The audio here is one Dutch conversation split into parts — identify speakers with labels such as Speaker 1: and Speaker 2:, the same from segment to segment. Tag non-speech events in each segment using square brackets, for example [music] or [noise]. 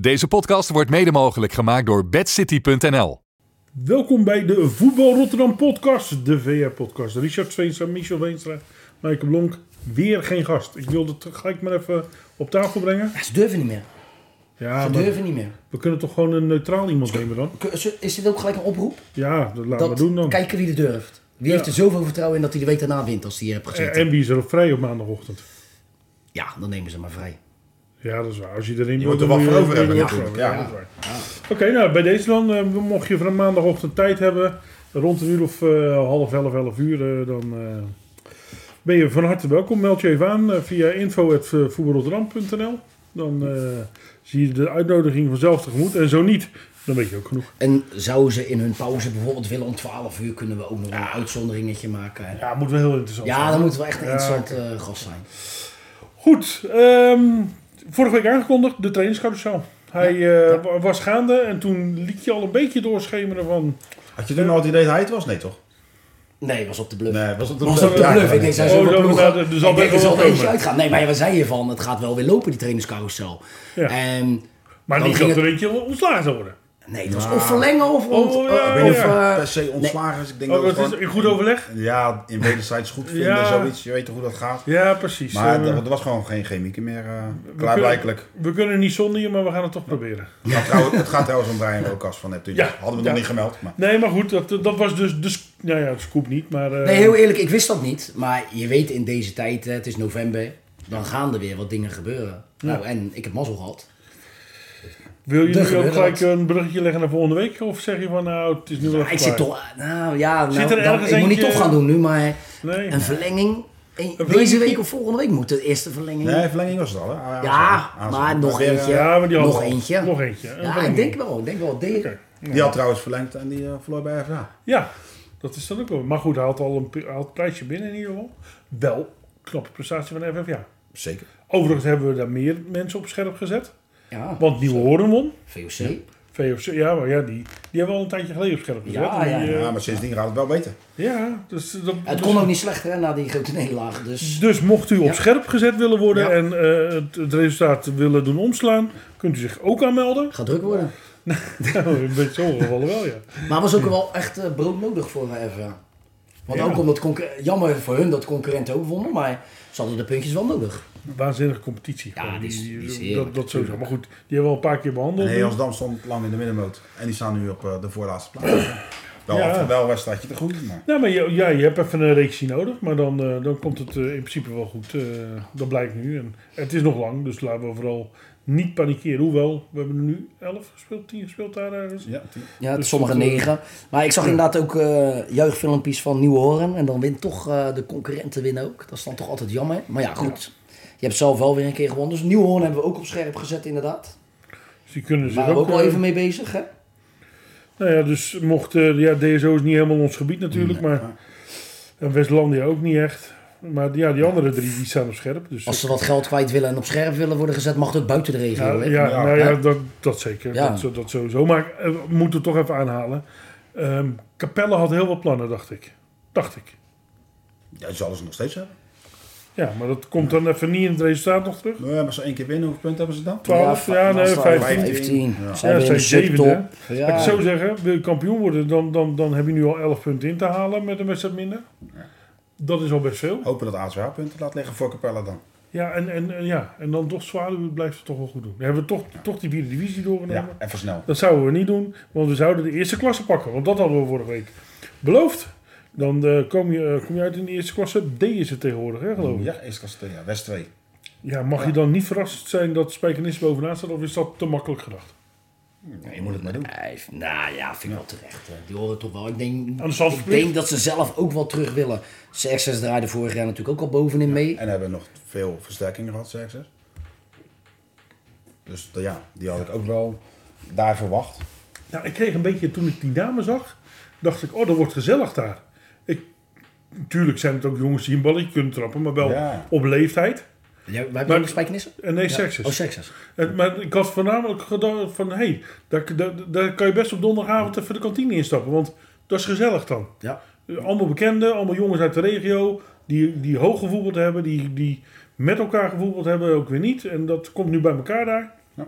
Speaker 1: Deze podcast wordt mede mogelijk gemaakt door bedcity.nl.
Speaker 2: Welkom bij de Voetbal Rotterdam podcast, de VR-podcast. Richard Sveenstra, Michel Weenstra, Maaike Blonk. Weer geen gast. Ik wilde het gelijk maar even op tafel brengen.
Speaker 3: Ja, ze durven niet meer.
Speaker 2: Ja,
Speaker 3: Ze
Speaker 2: maar
Speaker 3: durven niet meer.
Speaker 2: we kunnen toch gewoon een neutraal iemand nemen dan?
Speaker 3: K- ze- Is dit ook gelijk een oproep?
Speaker 2: Ja, dat laten we
Speaker 3: Dat
Speaker 2: doen dan.
Speaker 3: kijken wie er durft. Wie
Speaker 2: Ja.
Speaker 3: heeft er zoveel vertrouwen in dat hij de week daarna wint als hij hier hebt
Speaker 2: En
Speaker 3: gezeten?
Speaker 2: en wie Eh, is er op vrij op maandagochtend?
Speaker 3: Ja, dan nemen ze maar vrij.
Speaker 2: Ja, dat is waar. Als je erin
Speaker 4: Je
Speaker 2: wordt,
Speaker 4: moet
Speaker 2: dan
Speaker 4: er wat
Speaker 2: je-
Speaker 4: voor over
Speaker 2: dan
Speaker 4: hebben
Speaker 2: moet je er
Speaker 4: natuurlijk,
Speaker 2: wat
Speaker 4: ja.
Speaker 2: voor hebben. dat is waar. Oké, nou bij deze dan. eh, mocht je van een maandagochtend tijd hebben, rond een uur of eh, half elf, elf uur, eh, dan eh, ben je van harte welkom. Meld je even aan eh, via info.voetbalrotterdam.nl. Dan eh, zie je de uitnodiging vanzelf tegemoet. En zo niet, dan weet je ook genoeg.
Speaker 3: En zouden ze in hun pauze bijvoorbeeld willen om 12 uur kunnen we ook nog een uitzonderingetje maken. Ja,
Speaker 2: Ja, moet wel heel interessant zijn.
Speaker 3: dan moet wel echt een
Speaker 2: Ja,
Speaker 3: interessant eh, gast zijn.
Speaker 2: Goed, ehm, vorige week aangekondigd, de trainingscarousel. Hij eh, wa- was gaande en toen liet je al een beetje doorschemeren van...
Speaker 4: Had je toen al het idee dat hij het was? Nee, toch?
Speaker 3: Nee, was op de bluff.
Speaker 4: Nee, was het
Speaker 3: Was op de
Speaker 4: Ja,
Speaker 3: bluff. Ik denk, zijn
Speaker 2: Oh,
Speaker 3: zoveel
Speaker 2: dat-
Speaker 3: ploegen.
Speaker 2: dat- er zal best
Speaker 3: Ik denk,
Speaker 2: wel
Speaker 3: er zal
Speaker 2: wat
Speaker 3: er eentje
Speaker 2: komen.
Speaker 3: uitgaan. Nee, maar ja, we zeiden je van, het gaat wel weer lopen, die trainingscarousel.
Speaker 2: Ja.
Speaker 3: En,
Speaker 2: Maar
Speaker 3: Dan
Speaker 2: niet
Speaker 3: ging
Speaker 2: dat er
Speaker 3: het-
Speaker 2: eentje ontslagen zou worden.
Speaker 3: nee, het was of verlengen of... ont-
Speaker 2: Oh, ja,
Speaker 4: Ik weet niet
Speaker 3: of,
Speaker 4: of
Speaker 3: eh,
Speaker 4: hij per se ontslagen is. Ik denk
Speaker 2: Oh,
Speaker 4: dat
Speaker 2: dat
Speaker 4: het
Speaker 2: is
Speaker 4: gewoon-
Speaker 2: in goed overleg?
Speaker 4: Ja, in wederzijds goed vinden,
Speaker 2: Ja.
Speaker 4: zoiets. Je weet toch hoe dat gaat.
Speaker 2: Ja, precies.
Speaker 4: Maar
Speaker 2: Eh,
Speaker 4: er, er was gewoon geen chemiek meer, eh klaarblijkelijk.
Speaker 2: we kunnen niet zonder je, maar we gaan het toch proberen.
Speaker 4: Het gaat trouwens- het gaat trouwens om Brian Rokas van Neptune.
Speaker 2: Ja.
Speaker 4: Hadden we nog
Speaker 2: Ja.
Speaker 4: niet gemeld, maar...
Speaker 2: Nee, maar goed, dat, dat was dus de, sc- nou ja, de scoop niet. Maar, eh,
Speaker 3: Nee, heel eerlijk, ik wist dat niet. Maar je weet in deze tijd, hè, het is november, dan gaan er weer wat dingen gebeuren. Nou, en ik heb mazzel gehad.
Speaker 2: Wil je
Speaker 3: er
Speaker 2: nu ook
Speaker 3: gebeurde
Speaker 2: gelijk
Speaker 3: wat.
Speaker 2: een bruggetje leggen naar volgende week? Of zeg je van nou, het is nu wel
Speaker 3: Maar ik
Speaker 2: klaar?
Speaker 3: zit toch, nou ja, nou,
Speaker 2: Zit er
Speaker 3: dan-
Speaker 2: ergens
Speaker 3: ik moet niet
Speaker 2: eentje-
Speaker 3: op gaan doen nu, maar
Speaker 2: Nee.
Speaker 3: een verlenging. een- deze
Speaker 2: verlenging?
Speaker 3: week of volgende week moet de eerste verlenging.
Speaker 4: Nee, verlenging was het al, hè? Ah,
Speaker 3: Ja,
Speaker 4: aanzet. Aanzet.
Speaker 3: maar nog
Speaker 4: weer, eh,
Speaker 3: eentje.
Speaker 2: Ja, maar die had
Speaker 3: nog
Speaker 2: al.
Speaker 3: eentje.
Speaker 2: Nog eentje. Een
Speaker 3: ja, ik
Speaker 2: verlenging.
Speaker 3: denk wel. Ik denk wel. De,
Speaker 2: Oké.
Speaker 4: eh, Die had trouwens verlengd en die eh verloor bij FA.
Speaker 2: Ja, dat is dan ook wel. Maar goed, hij had al een pri- hij had een prijsje binnen in ieder geval. Wel, knappe prestatie van de FFA.
Speaker 4: Zeker.
Speaker 2: Overigens hebben we daar meer mensen op scherp gezet.
Speaker 3: Ja,
Speaker 2: Want Nieuwe Horen won.
Speaker 3: VOC.
Speaker 2: VFC, ja, maar ja, die, die hebben we al een tijdje geleden op scherp gezet.
Speaker 3: Ja,
Speaker 2: En
Speaker 3: ja,
Speaker 2: die, eh,
Speaker 4: Ja, maar sindsdien gaat het wel beter.
Speaker 2: Ja, dus, dat,
Speaker 3: Het
Speaker 2: dus,
Speaker 3: kon ook niet slechter hè, na die grote nederlaag. Dus
Speaker 2: dus mocht u op scherp gezet willen worden
Speaker 3: Ja.
Speaker 2: en eh, het, het resultaat willen doen omslaan, kunt u zich ook
Speaker 3: [laughs]
Speaker 2: aanmelden.
Speaker 3: het gaat druk worden.
Speaker 2: Nou, in beetje sommige gevallen wel, ja.
Speaker 3: Maar het was ook wel echt eh, broodnodig voor eh, FA. Want
Speaker 2: Ja.
Speaker 3: ook omdat concur- jammer voor hun dat concurrenten ook wonnen, maar ze hadden de puntjes wel nodig.
Speaker 2: Waanzinnige competitie.
Speaker 3: Ja,
Speaker 2: gewoon.
Speaker 3: die is- die is
Speaker 2: dat,
Speaker 3: heerlijk,
Speaker 2: dat sowieso. Maar goed, die hebben we al een paar keer
Speaker 4: En
Speaker 2: behandeld.
Speaker 4: Heels Dam stond lang in de middenmoot. En die staan nu op eh, de voorlaatste plaats. Wel,
Speaker 2: Ja.
Speaker 4: af- wel een wedstrijdje te goed, maar...
Speaker 2: Ja, Nou, maar je, ja, je hebt even een reeksje nodig, maar dan, eh, dan komt het eh, in principe wel goed. Eh, dat blijkt nu. En het is nog lang, dus laten we vooral niet panikeren. Hoewel, we hebben er nu 11 gespeeld, 10 gespeeld daar ergens.
Speaker 4: Ja, die-
Speaker 3: Ja, het
Speaker 2: Dus
Speaker 3: sommige
Speaker 2: dat, eh,
Speaker 3: negen. Maar ik zag inderdaad ook eh, juichfilmpjes van Nieuwe Horen. En dan wint toch eh, de concurrenten winnen ook. Dat is dan toch altijd jammer. Maar ja, goed. Je hebt zelf wel weer een keer gewonnen. Dus Nieuwe Hoorn hebben we ook op scherp gezet inderdaad.
Speaker 2: Dus die kunnen zich
Speaker 3: Daar waren we ook wel
Speaker 2: eh,
Speaker 3: even mee bezig, hè?
Speaker 2: Nou ja, dus mocht... eh, ja, DSO is niet helemaal ons gebied natuurlijk, maar... En Westlandia ook niet echt. Maar ja, die andere drie die staan op scherp. Dus
Speaker 3: Als ze wat geld kwijt willen en op scherp willen worden gezet, mag het ook buiten de regio,
Speaker 2: ja,
Speaker 3: hè?
Speaker 2: ja,
Speaker 4: Ja,
Speaker 2: nou ja,
Speaker 3: hè?
Speaker 2: dat, dat zeker.
Speaker 3: Ja.
Speaker 2: Dat, zo- dat sowieso. Maar eh, we moeten het toch even aanhalen. Ehm Capelle had heel wat plannen, dacht ik. Dacht ik.
Speaker 4: Ja, die zullen ze nog steeds hebben.
Speaker 2: Ja, maar dat komt dan even niet in het resultaat nog terug.
Speaker 4: Nou ja, maar ze één keer winnen, hoeveel punten hebben ze dan?
Speaker 2: 12, ja, nee, 15.
Speaker 3: 15.
Speaker 4: Ja.
Speaker 3: Zijn
Speaker 2: Ja,
Speaker 3: we in
Speaker 2: zijn
Speaker 3: de
Speaker 2: zevende,
Speaker 3: subtop.
Speaker 2: Laat ik
Speaker 3: Ja.
Speaker 2: het zo zeggen, wil je kampioen worden, dan, dan, dan heb je nu al 11 punten in te halen met een wedstrijd minder. Dat is al best veel.
Speaker 4: Hopen dat ASWH punten laat liggen voor Capella dan.
Speaker 2: Ja, en, en, en ja, en dan toch Zwaluwe blijft het toch wel goed doen. Dan hebben we toch, toch die vierde divisie doorgenomen.
Speaker 4: Ja, even snel.
Speaker 2: Dat zouden we niet doen, want we zouden de eerste klasse pakken. Want dat hadden we vorige week beloofd. Dan eh, kom, je, eh, kom je uit in de eerste klasse. D is het tegenwoordig, hè, geloof ik. Ja,
Speaker 4: Ja, eerste klasse 2, ja. West 2.
Speaker 2: mag je dan niet verrast zijn dat Spijkenis bovenaan staat? Of is dat te makkelijk gedacht?
Speaker 4: Ja, je moet het maar doen.
Speaker 3: Nee, nou ja, vind ik wel terecht. hè. Die horen toch wel. Ik denk,
Speaker 2: Aan de stand
Speaker 3: ik
Speaker 2: verplicht.
Speaker 3: denk dat ze zelf ook wel terug willen. CX6 draaide vorig jaar natuurlijk ook al bovenin mee.
Speaker 4: En hebben nog veel versterkingen gehad, zeg ze. Dus eh, ja, die had ik ook wel daar verwacht.
Speaker 2: Ja, ik kreeg een beetje, toen ik die namen zag, dacht ik, oh, dat wordt gezellig daar. Ik, natuurlijk zijn het ook jongens die een balletje kunnen trappen, maar wel
Speaker 4: Ja.
Speaker 2: op leeftijd.
Speaker 3: Ja, wij
Speaker 2: Maar-
Speaker 3: hebben ook spijkenissen?
Speaker 2: En nee, seksus.
Speaker 3: Oh, sekses.
Speaker 2: En- maar ik had voornamelijk gedacht van, hé, hey, daar, daar, daar kan je best op donderdagavond even de kantine instappen, want dat is gezellig dan.
Speaker 3: Ja.
Speaker 2: Allemaal bekenden, allemaal jongens uit de regio, die, die hoog gevoetbald hebben, die, die met elkaar gevoetbald hebben, ook weer niet. En dat komt nu bij elkaar daar.
Speaker 4: Ja.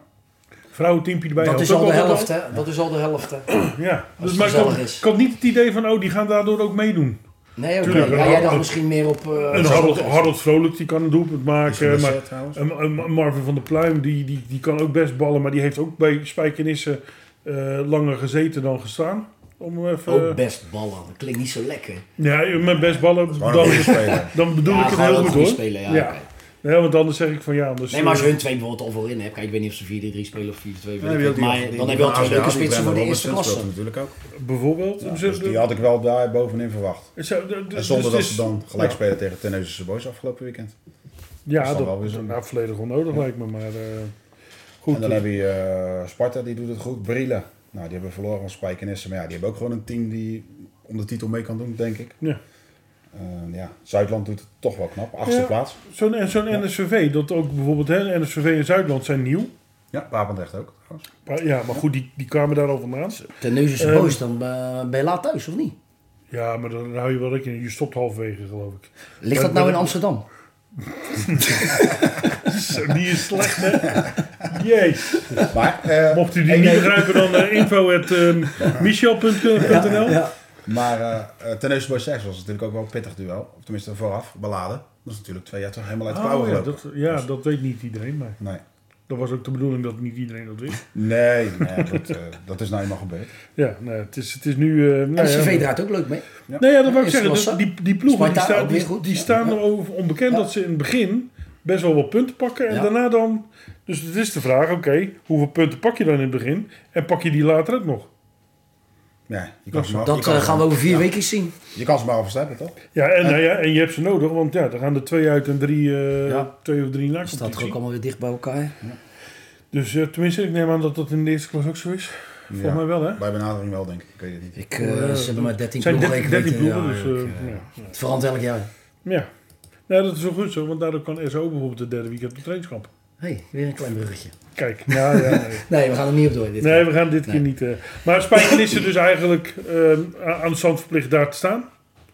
Speaker 2: vrouwenteampje erbij.
Speaker 3: Dat
Speaker 2: helpt
Speaker 3: is al
Speaker 2: ook
Speaker 3: de
Speaker 2: altijd
Speaker 3: helft, hè? Dat is al de helft, hè?
Speaker 2: Ja,
Speaker 3: Als
Speaker 2: dus
Speaker 3: het
Speaker 2: maar ik had,
Speaker 3: gezellig is.
Speaker 2: ik had niet het idee van, oh, die gaan daardoor ook meedoen.
Speaker 3: Nee, oké.
Speaker 2: Tuurlijk,
Speaker 3: Ja,
Speaker 2: een
Speaker 3: jij dacht
Speaker 2: Harold-
Speaker 3: misschien meer op... eh,
Speaker 2: En Harold, Harold Vrolijk, die kan een doelpunt
Speaker 4: Is hij
Speaker 2: maken. Maar
Speaker 4: geblesseerd trouwens?
Speaker 2: en- en Marvin van der Pluim, die, die, die kan ook best ballen. Maar die heeft ook bij Spijkenissen eh, langer gezeten dan gestaan. Om hem even...
Speaker 4: Oh,
Speaker 3: Ook Oh, best ballen. Dat klinkt niet zo lekker.
Speaker 2: ja, met best ballen,
Speaker 4: Gewoon een
Speaker 2: dan,
Speaker 4: goede speler.
Speaker 2: [laughs] dan bedoel
Speaker 3: ja,
Speaker 2: ik het
Speaker 3: gewoon
Speaker 2: heel
Speaker 3: ook
Speaker 2: goed,
Speaker 3: goed
Speaker 2: hoor.
Speaker 3: spelen, ja.
Speaker 2: Ja.
Speaker 3: oké.
Speaker 2: Nee, want anders zeg ik van ja. Dus,
Speaker 3: Nee, maar als je hun twee bijvoorbeeld al voorin hebt. Kijk, ik weet niet of ze 4-3 spelen of 4-2. weet
Speaker 4: Ja,
Speaker 3: ik
Speaker 4: die-
Speaker 3: niet. maar
Speaker 4: die-
Speaker 3: dan
Speaker 4: die
Speaker 3: heb je al
Speaker 4: van
Speaker 3: twee leuke
Speaker 4: Ajax, die
Speaker 3: spitsen voor de
Speaker 4: Brandon
Speaker 3: eerste
Speaker 4: Robinson
Speaker 3: klasse.
Speaker 4: speelt natuurlijk ook.
Speaker 2: bijvoorbeeld.
Speaker 4: Ja,
Speaker 2: ze-
Speaker 4: dus die had ik wel daar bovenin verwacht.
Speaker 2: ze- de- de-
Speaker 4: En zonder
Speaker 2: dus het
Speaker 4: dat ze
Speaker 2: is-
Speaker 4: dan gelijk spelen tegen Tennessee Boys afgelopen weekend.
Speaker 2: Ja,
Speaker 4: is dan
Speaker 2: dat,
Speaker 4: wel weer zo'n-
Speaker 2: nou, volledig onnodig lijkt me. Maar eh, goed.
Speaker 4: En dan heb je eh, Sparta, die doet het goed. Brille, nou die hebben verloren van Spijkenissen. Maar ja, die hebben ook gewoon een team die om de titel mee kan doen, denk ik.
Speaker 2: Ja.
Speaker 4: Eh, ja, Zuidland doet het toch wel knap. Achtste
Speaker 2: Ja.
Speaker 4: plaats.
Speaker 2: Zo'n en zo'n NSVV, dat ook bijvoorbeeld, hè, NSVV en Zuidland zijn nieuw.
Speaker 4: Ja, Papendrecht ook. trouwens.
Speaker 2: Maar, ja, maar goed, die, die kwamen daar al vandaan.
Speaker 3: Ten neus is
Speaker 2: Ehm.
Speaker 3: boos, dan eh, ben je laat thuis, of niet?
Speaker 2: Ja, maar dan hou je wel rekening. Je stopt halverwege, geloof ik.
Speaker 3: Ligt dat
Speaker 2: Eh,
Speaker 3: nou
Speaker 2: maar-
Speaker 3: in Amsterdam?
Speaker 2: [laughs] Zo, die is slecht, [laughs] hè? Jeez.
Speaker 4: [laughs] Maar, eh,
Speaker 2: Mocht u die
Speaker 4: en
Speaker 2: niet
Speaker 4: nee,
Speaker 2: begrijpen, dan eh, info at ehm, michel.nl.
Speaker 4: Maar eh eh, ten Neuzen Boys 6 was natuurlijk ook wel een pittig duel. Of tenminste vooraf, beladen. Dat is natuurlijk twee jaar toch helemaal uit de
Speaker 2: Oh,
Speaker 4: klauwen
Speaker 2: ja,
Speaker 4: gelopen.
Speaker 2: dat, ja, dat weet niet iedereen, maar
Speaker 4: Nee,
Speaker 2: dat was ook de bedoeling dat niet iedereen dat wist.
Speaker 4: nee, nee [laughs] dat, eh, dat is nou eenmaal gebeurd.
Speaker 2: Ja, nee, het, is, het is nu... eh nou, ja,
Speaker 3: NCV draait ook leuk mee.
Speaker 2: Nee, ja, dat wou ik
Speaker 3: Eerste
Speaker 2: zeggen.
Speaker 3: klasse.
Speaker 2: Dat- Die, die ploegen die
Speaker 3: Sparta
Speaker 2: staan,
Speaker 3: ook weer
Speaker 2: die,
Speaker 3: goed.
Speaker 2: die
Speaker 3: Ja.
Speaker 2: staan erover onbekend dat ze in het begin best wel wat punten pakken. En
Speaker 3: Ja.
Speaker 2: daarna dan... Dus het is de vraag, oké, hoeveel punten pak je dan in het begin? En pak je die later ook nog?
Speaker 4: Ja, je kan ze maar, je
Speaker 3: Dat
Speaker 4: kan
Speaker 3: eh,
Speaker 4: ze
Speaker 3: gaan we
Speaker 4: maar-
Speaker 3: over vier
Speaker 4: ja,
Speaker 3: weken zien.
Speaker 4: Je kan ze maar oversteppen, toch?
Speaker 2: Ja, en, nou ja, en je hebt ze nodig, want ja, er gaan er twee uit en drie, eh,
Speaker 4: Ja.
Speaker 2: twee of drie na
Speaker 3: Staat toch ook
Speaker 2: competitie.
Speaker 3: allemaal weer dicht bij elkaar.
Speaker 2: Dus eh, tenminste, ik neem aan dat dat in de eerste klas ook zo is. Volgens mij wel, hè?
Speaker 4: Bij benadering wel, denk ik. Ik weet het niet.
Speaker 3: Ik, eh,
Speaker 2: Ja,
Speaker 3: ze hebben maar 13
Speaker 2: Het zijn
Speaker 3: ploegen.
Speaker 2: 13
Speaker 3: ik
Speaker 2: ploegen,
Speaker 3: weet het, ja,
Speaker 2: dus... eh,
Speaker 3: ik, eh,
Speaker 2: ja.
Speaker 3: Het verandert elk jaar.
Speaker 2: Ja. Nou, dat is wel goed zo, want daardoor kan SO bijvoorbeeld de derde weekend op trainingskamp.
Speaker 3: hey, weer een klein bruggetje.
Speaker 2: Kijk, nou ja, nee.
Speaker 3: Nee, we gaan er niet op door dit
Speaker 2: Nee,
Speaker 3: keer.
Speaker 2: we gaan dit keer
Speaker 3: Nee.
Speaker 2: niet. eh. maar
Speaker 3: [coughs]
Speaker 2: Spijkenissen dus eigenlijk ehm, a- aan de stand verplicht daar te staan.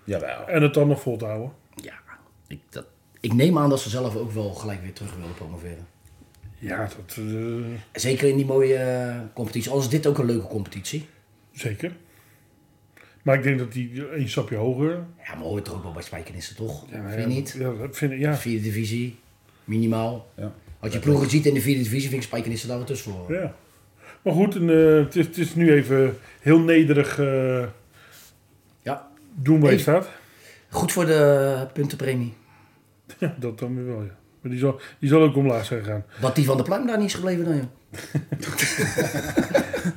Speaker 4: Jawel.
Speaker 2: En het dan nog vol te houden.
Speaker 3: Ja, ik, dat, ik neem aan dat ze zelf ook wel gelijk weer terug willen promoveren.
Speaker 2: Ja, dat eh,
Speaker 3: Zeker in die mooie eh, competitie. Al is dit ook een leuke competitie.
Speaker 2: zeker. Maar ik denk dat die een stapje hoger.
Speaker 3: Ja, maar hoort er ook wel bij Spijkenissen, toch? vind je niet?
Speaker 2: Ja, dat vind ik, ja.
Speaker 3: Vierde divisie, minimaal.
Speaker 4: Ja.
Speaker 3: Als je ploegen ziet in de vierde divisie, vind ik Spijkenissen daar wel tussen voor.
Speaker 2: ja. Maar goed, en, eh, het, is, het is nu even heel nederig eh,
Speaker 3: Ja.
Speaker 2: doen waar je
Speaker 3: Hey.
Speaker 2: staat. [laughs]
Speaker 3: Goed voor de puntenpremie.
Speaker 2: Ja, dat dan weer wel, ja. Maar die zal, die zal ook omlaag zijn gegaan.
Speaker 3: Dat die van de pluim daar niet is gebleven dan, joh.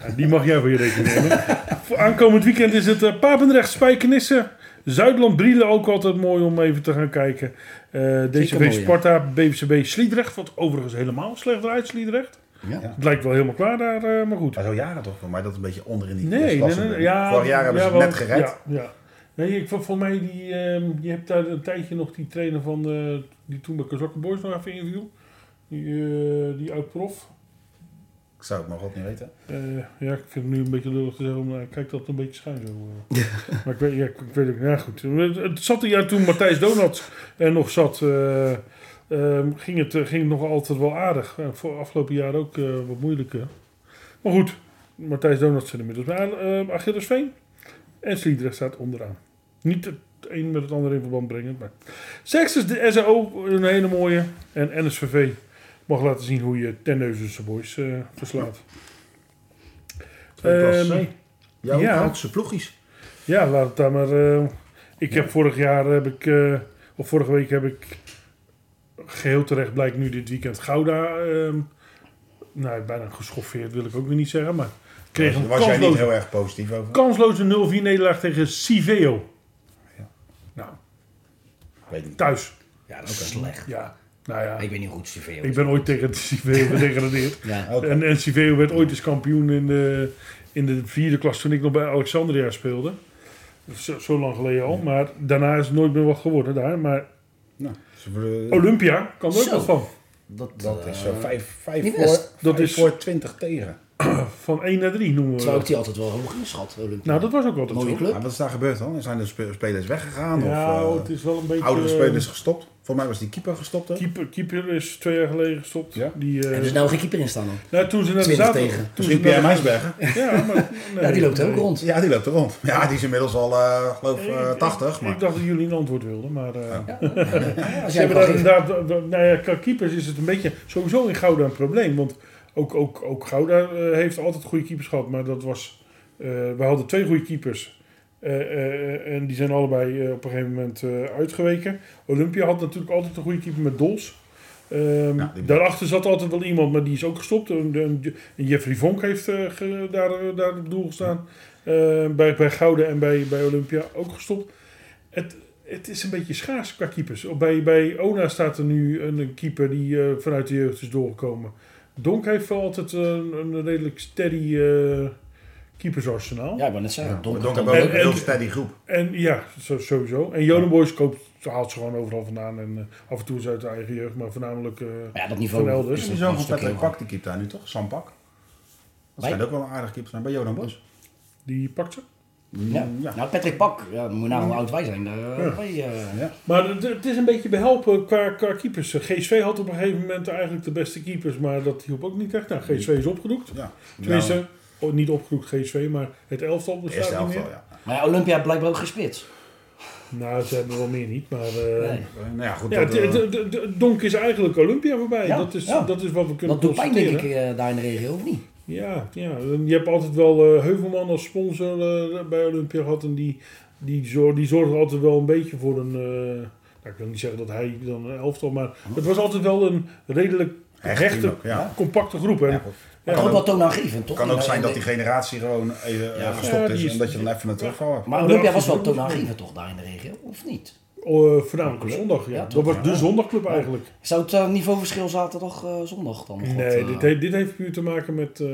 Speaker 2: Ja, die mag jij voor je rekening nemen. Voor aankomend weekend is het eh, Papendrecht, Spijkenissen. Zuidland, Brielen ook altijd mooi om even te gaan kijken. Eh
Speaker 3: mooi,
Speaker 2: DCV
Speaker 3: ja.
Speaker 2: Sparta, BVCB Sliedrecht. Wat overigens helemaal slecht eruit, Sliedrecht.
Speaker 3: Ja.
Speaker 4: Ja.
Speaker 2: Het lijkt wel helemaal klaar daar, eh, maar goed.
Speaker 4: Maar zo jaren toch voor mij, dat is een beetje onderin die
Speaker 2: Nee, nee,
Speaker 4: klasse.
Speaker 2: nee, ja,
Speaker 4: Vorig jaar hebben ze
Speaker 2: jawel,
Speaker 4: net gered.
Speaker 2: Ja, ja. Nee, ik, vond- volgens mij, die, ehm, je hebt daar een tijdje nog die trainer van, eh, die toen bij Kazakken Boys nog even inviel. Die, eh, die oud-prof.
Speaker 4: Ik zou het maar god niet weten.
Speaker 2: Eh, ja, ik vind het nu een beetje lullig te zeggen, maar ik kijk dat een beetje schuin zo. eh. maar ik weet, ja, ik, ik weet ook, ja goed. Het, het zat een jaar toen Matthijs Donat er nog zat, eh, ehm, ging, het, eh, ging het nog altijd wel aardig. Eh, voor afgelopen jaar ook eh, wat moeilijker. Maar goed, Matthijs Donat zit inmiddels bij uh, Achillesveen. En Sliedrecht staat onderaan. Niet het een met het ander in verband brengend, maar... Seks is de SAO, een hele mooie. En NSVV mag laten zien hoe je Tenneuzense boys eh, verslaat.
Speaker 4: Twee klassen.
Speaker 2: Ehm,
Speaker 4: C. Jouw
Speaker 2: ja.
Speaker 4: grootste ploegjes.
Speaker 2: Ja, laat het daar maar. eh, ik heb vorig jaar heb ik, eh, of vorige week heb ik geheel terecht blijkt nu dit weekend Gouda. ehm, nou, bijna geschoffeerd wil ik ook weer niet zeggen, maar kreeg een
Speaker 4: Daar was jij niet
Speaker 2: kansloze,
Speaker 4: heel erg positief over?
Speaker 2: kansloze 0-4 nederlaag tegen Civeo.
Speaker 4: Ja.
Speaker 2: Nou,
Speaker 4: Ik weet niet.
Speaker 2: thuis.
Speaker 3: Ja, dat is slecht.
Speaker 2: Ja, nou ja.
Speaker 3: Ik weet niet hoe goed ze veel
Speaker 2: Ik ben ooit tegen het Civeo gedegradeerd.
Speaker 3: Ja.
Speaker 4: Oké.
Speaker 2: En, en Civeo werd ooit eens kampioen in de, in de vierde klas toen ik nog bij Alexandria speelde. Zo, zo lang geleden al. Maar daarna is het nooit meer wat geworden daar. Maar
Speaker 4: Nou, ze willen-
Speaker 2: Oh, Olympia kan er ook
Speaker 3: Zo.
Speaker 2: wat van.
Speaker 3: Dat,
Speaker 4: dat is zo
Speaker 3: eh,
Speaker 4: 5
Speaker 3: niet
Speaker 4: voor,
Speaker 3: best.
Speaker 2: Dat
Speaker 4: dat
Speaker 2: is-
Speaker 4: is... voor 20 tegen.
Speaker 2: Van 1 naar 3 noemen we
Speaker 3: Terwijl ik
Speaker 2: dat.
Speaker 3: die altijd wel hoog inschat, Olympia.
Speaker 2: Nou, dat was ook altijd
Speaker 3: Mooie
Speaker 2: zo.
Speaker 3: club.
Speaker 4: Maar wat is daar gebeurd dan? Zijn de spe- spelers weggegaan?
Speaker 2: Ja,
Speaker 4: of eh,
Speaker 2: het is wel een beetje...
Speaker 4: oudere
Speaker 2: eh,
Speaker 4: spelers gestopt? Volgens mij was die keeper gestopt. hè?
Speaker 2: Keeper, keeper is twee jaar geleden gestopt.
Speaker 4: Ja.
Speaker 2: Die, eh,
Speaker 3: Er is nou geen keeper in staan dan.
Speaker 2: nou, toen ze naar de
Speaker 3: 20
Speaker 2: zaterdag...
Speaker 3: tegen.
Speaker 2: Toen ze
Speaker 4: Misschien Pierre
Speaker 2: naar de-
Speaker 4: Meisberger.
Speaker 2: Ja, maar,
Speaker 3: [laughs] ja, die
Speaker 2: nee,
Speaker 3: loopt ook
Speaker 2: nee.
Speaker 3: rond.
Speaker 4: Ja, die loopt er rond. Ja, die is inmiddels al, eh geloof ik,
Speaker 2: Ik- ik-
Speaker 4: 80. Maar...
Speaker 2: Ik dacht dat jullie een antwoord wilden, maar... eh,
Speaker 3: Ja, als
Speaker 2: Ze
Speaker 3: jij
Speaker 2: hebben
Speaker 3: hem
Speaker 2: daar
Speaker 3: kan geven.
Speaker 2: inderdaad, d- d- nou ja, qua keepers is het een beetje sowieso in Gouda een probleem. Want ook, ook, ook Gouda eh, heeft altijd goede keepers gehad. Maar dat was, eh, we hadden twee goede keepers. Eh, eh, en die zijn allebei eh, op een gegeven moment eh, uitgeweken. Olympia had natuurlijk altijd een goede keeper met Dols. Ehm,
Speaker 4: Ja, die-
Speaker 2: daarachter zat altijd wel iemand, maar die is ook gestopt. Een- een- een Jeffrey Vonk heeft eh, ge- daar, eh, daar op doel gestaan. Eh, bij, bij Gouden en bij, bij Olympia ook gestopt. Het, het is een beetje schaars qua keepers. Bij, bij Ona staat er nu een, een keeper die eh, vanuit de jeugd is doorgekomen. Donk heeft wel altijd een, een redelijk steady eh keepersarsenaal.
Speaker 3: Ja, ik wou net zeggen.
Speaker 4: Ja,
Speaker 3: donker,
Speaker 4: Donk hebben
Speaker 3: donker.
Speaker 4: we
Speaker 2: en-
Speaker 4: ook een heel
Speaker 2: en-
Speaker 4: steady groep.
Speaker 2: En ja, zo- sowieso. En Joden Boys koopt, haalt ze gewoon overal vandaan. En eh, af en toe is uit de eigen jeugd, maar voornamelijk... eh,
Speaker 3: Maar ja, dat niveau
Speaker 2: Van Elders.
Speaker 3: is
Speaker 4: Die
Speaker 3: nog
Speaker 4: zoon
Speaker 3: een
Speaker 4: van
Speaker 3: stuk
Speaker 4: Patrick
Speaker 3: heel hoog.
Speaker 4: Pak, die keept daar nu toch? Sam Pak. Dat
Speaker 3: Bij?
Speaker 4: schijnt ook wel een aardig keeper te zijn bij Jodan Bos.
Speaker 2: die pakt ze.
Speaker 3: Ja.
Speaker 4: Mm, Ja.
Speaker 3: Nou, Patrick Pak, ja, dan moet je nou hoe oud wij zijn. Daar, eh, wij, eh,
Speaker 2: Maar het- het is een beetje behelpen qua, qua keepers. GSV had op een gegeven moment eigenlijk de beste keepers, maar dat hielp ook niet echt. Nou, GSV is opgedoekt.
Speaker 4: ja.
Speaker 2: Tenminste,
Speaker 4: Nou,
Speaker 2: oh, niet opgedoekt GSV, maar het elftal
Speaker 4: de eerste
Speaker 2: bestaat niet
Speaker 4: helft
Speaker 2: meer.
Speaker 4: wel, ja.
Speaker 3: Maar ja, Olympia heeft blijkbaar ook gespitst.
Speaker 2: Nou, ze hebben wel meer niet, maar... eh,
Speaker 3: Nee.
Speaker 4: Eh, Nou ja, goed.
Speaker 2: Ja,
Speaker 4: dat, eh,
Speaker 2: de, de, de- de- Donk is eigenlijk Olympia voorbij.
Speaker 3: Ja,
Speaker 2: dat, is,
Speaker 3: ja.
Speaker 2: dat is wat we kunnen
Speaker 3: Dat doet pijn, denk ik,
Speaker 2: constateren.
Speaker 3: eh, daar in de regio, of niet?
Speaker 2: Ja, ja. En je hebt altijd wel eh, Heuvelman als sponsor eh, bij Olympia gehad. En die, die, zor die zorgde altijd wel een beetje voor een... eh, nou, ik wil niet zeggen dat hij dan een elftal... Maar het was altijd wel een redelijk
Speaker 4: Hecht
Speaker 2: rechte,
Speaker 4: team ook, ja.
Speaker 2: compacte groep. hè.
Speaker 4: ja, goed.
Speaker 3: Maar ook wel toonaangevend, toch?
Speaker 4: Het kan ook
Speaker 3: In-
Speaker 4: zijn
Speaker 3: in-
Speaker 4: dat die generatie gewoon even eh,
Speaker 3: Ja.
Speaker 2: Ja,
Speaker 4: gestopt
Speaker 2: die
Speaker 4: is
Speaker 2: is-
Speaker 4: en dat je dan even naar terugvallen. hebt.
Speaker 3: Maar Olympia was wel toonaangevend, toch, daar in de regio, of niet?
Speaker 2: Eh, voornamelijk op zondag, ja.
Speaker 3: Ja,
Speaker 2: dat
Speaker 3: toch?
Speaker 2: was de zondagclub eigenlijk.
Speaker 3: Zou het eh, niveauverschil zaterdag, eh, zondag dan nog wat,
Speaker 2: Nee,
Speaker 3: eh,
Speaker 2: dit, heeft- dit heeft puur te maken met, eh,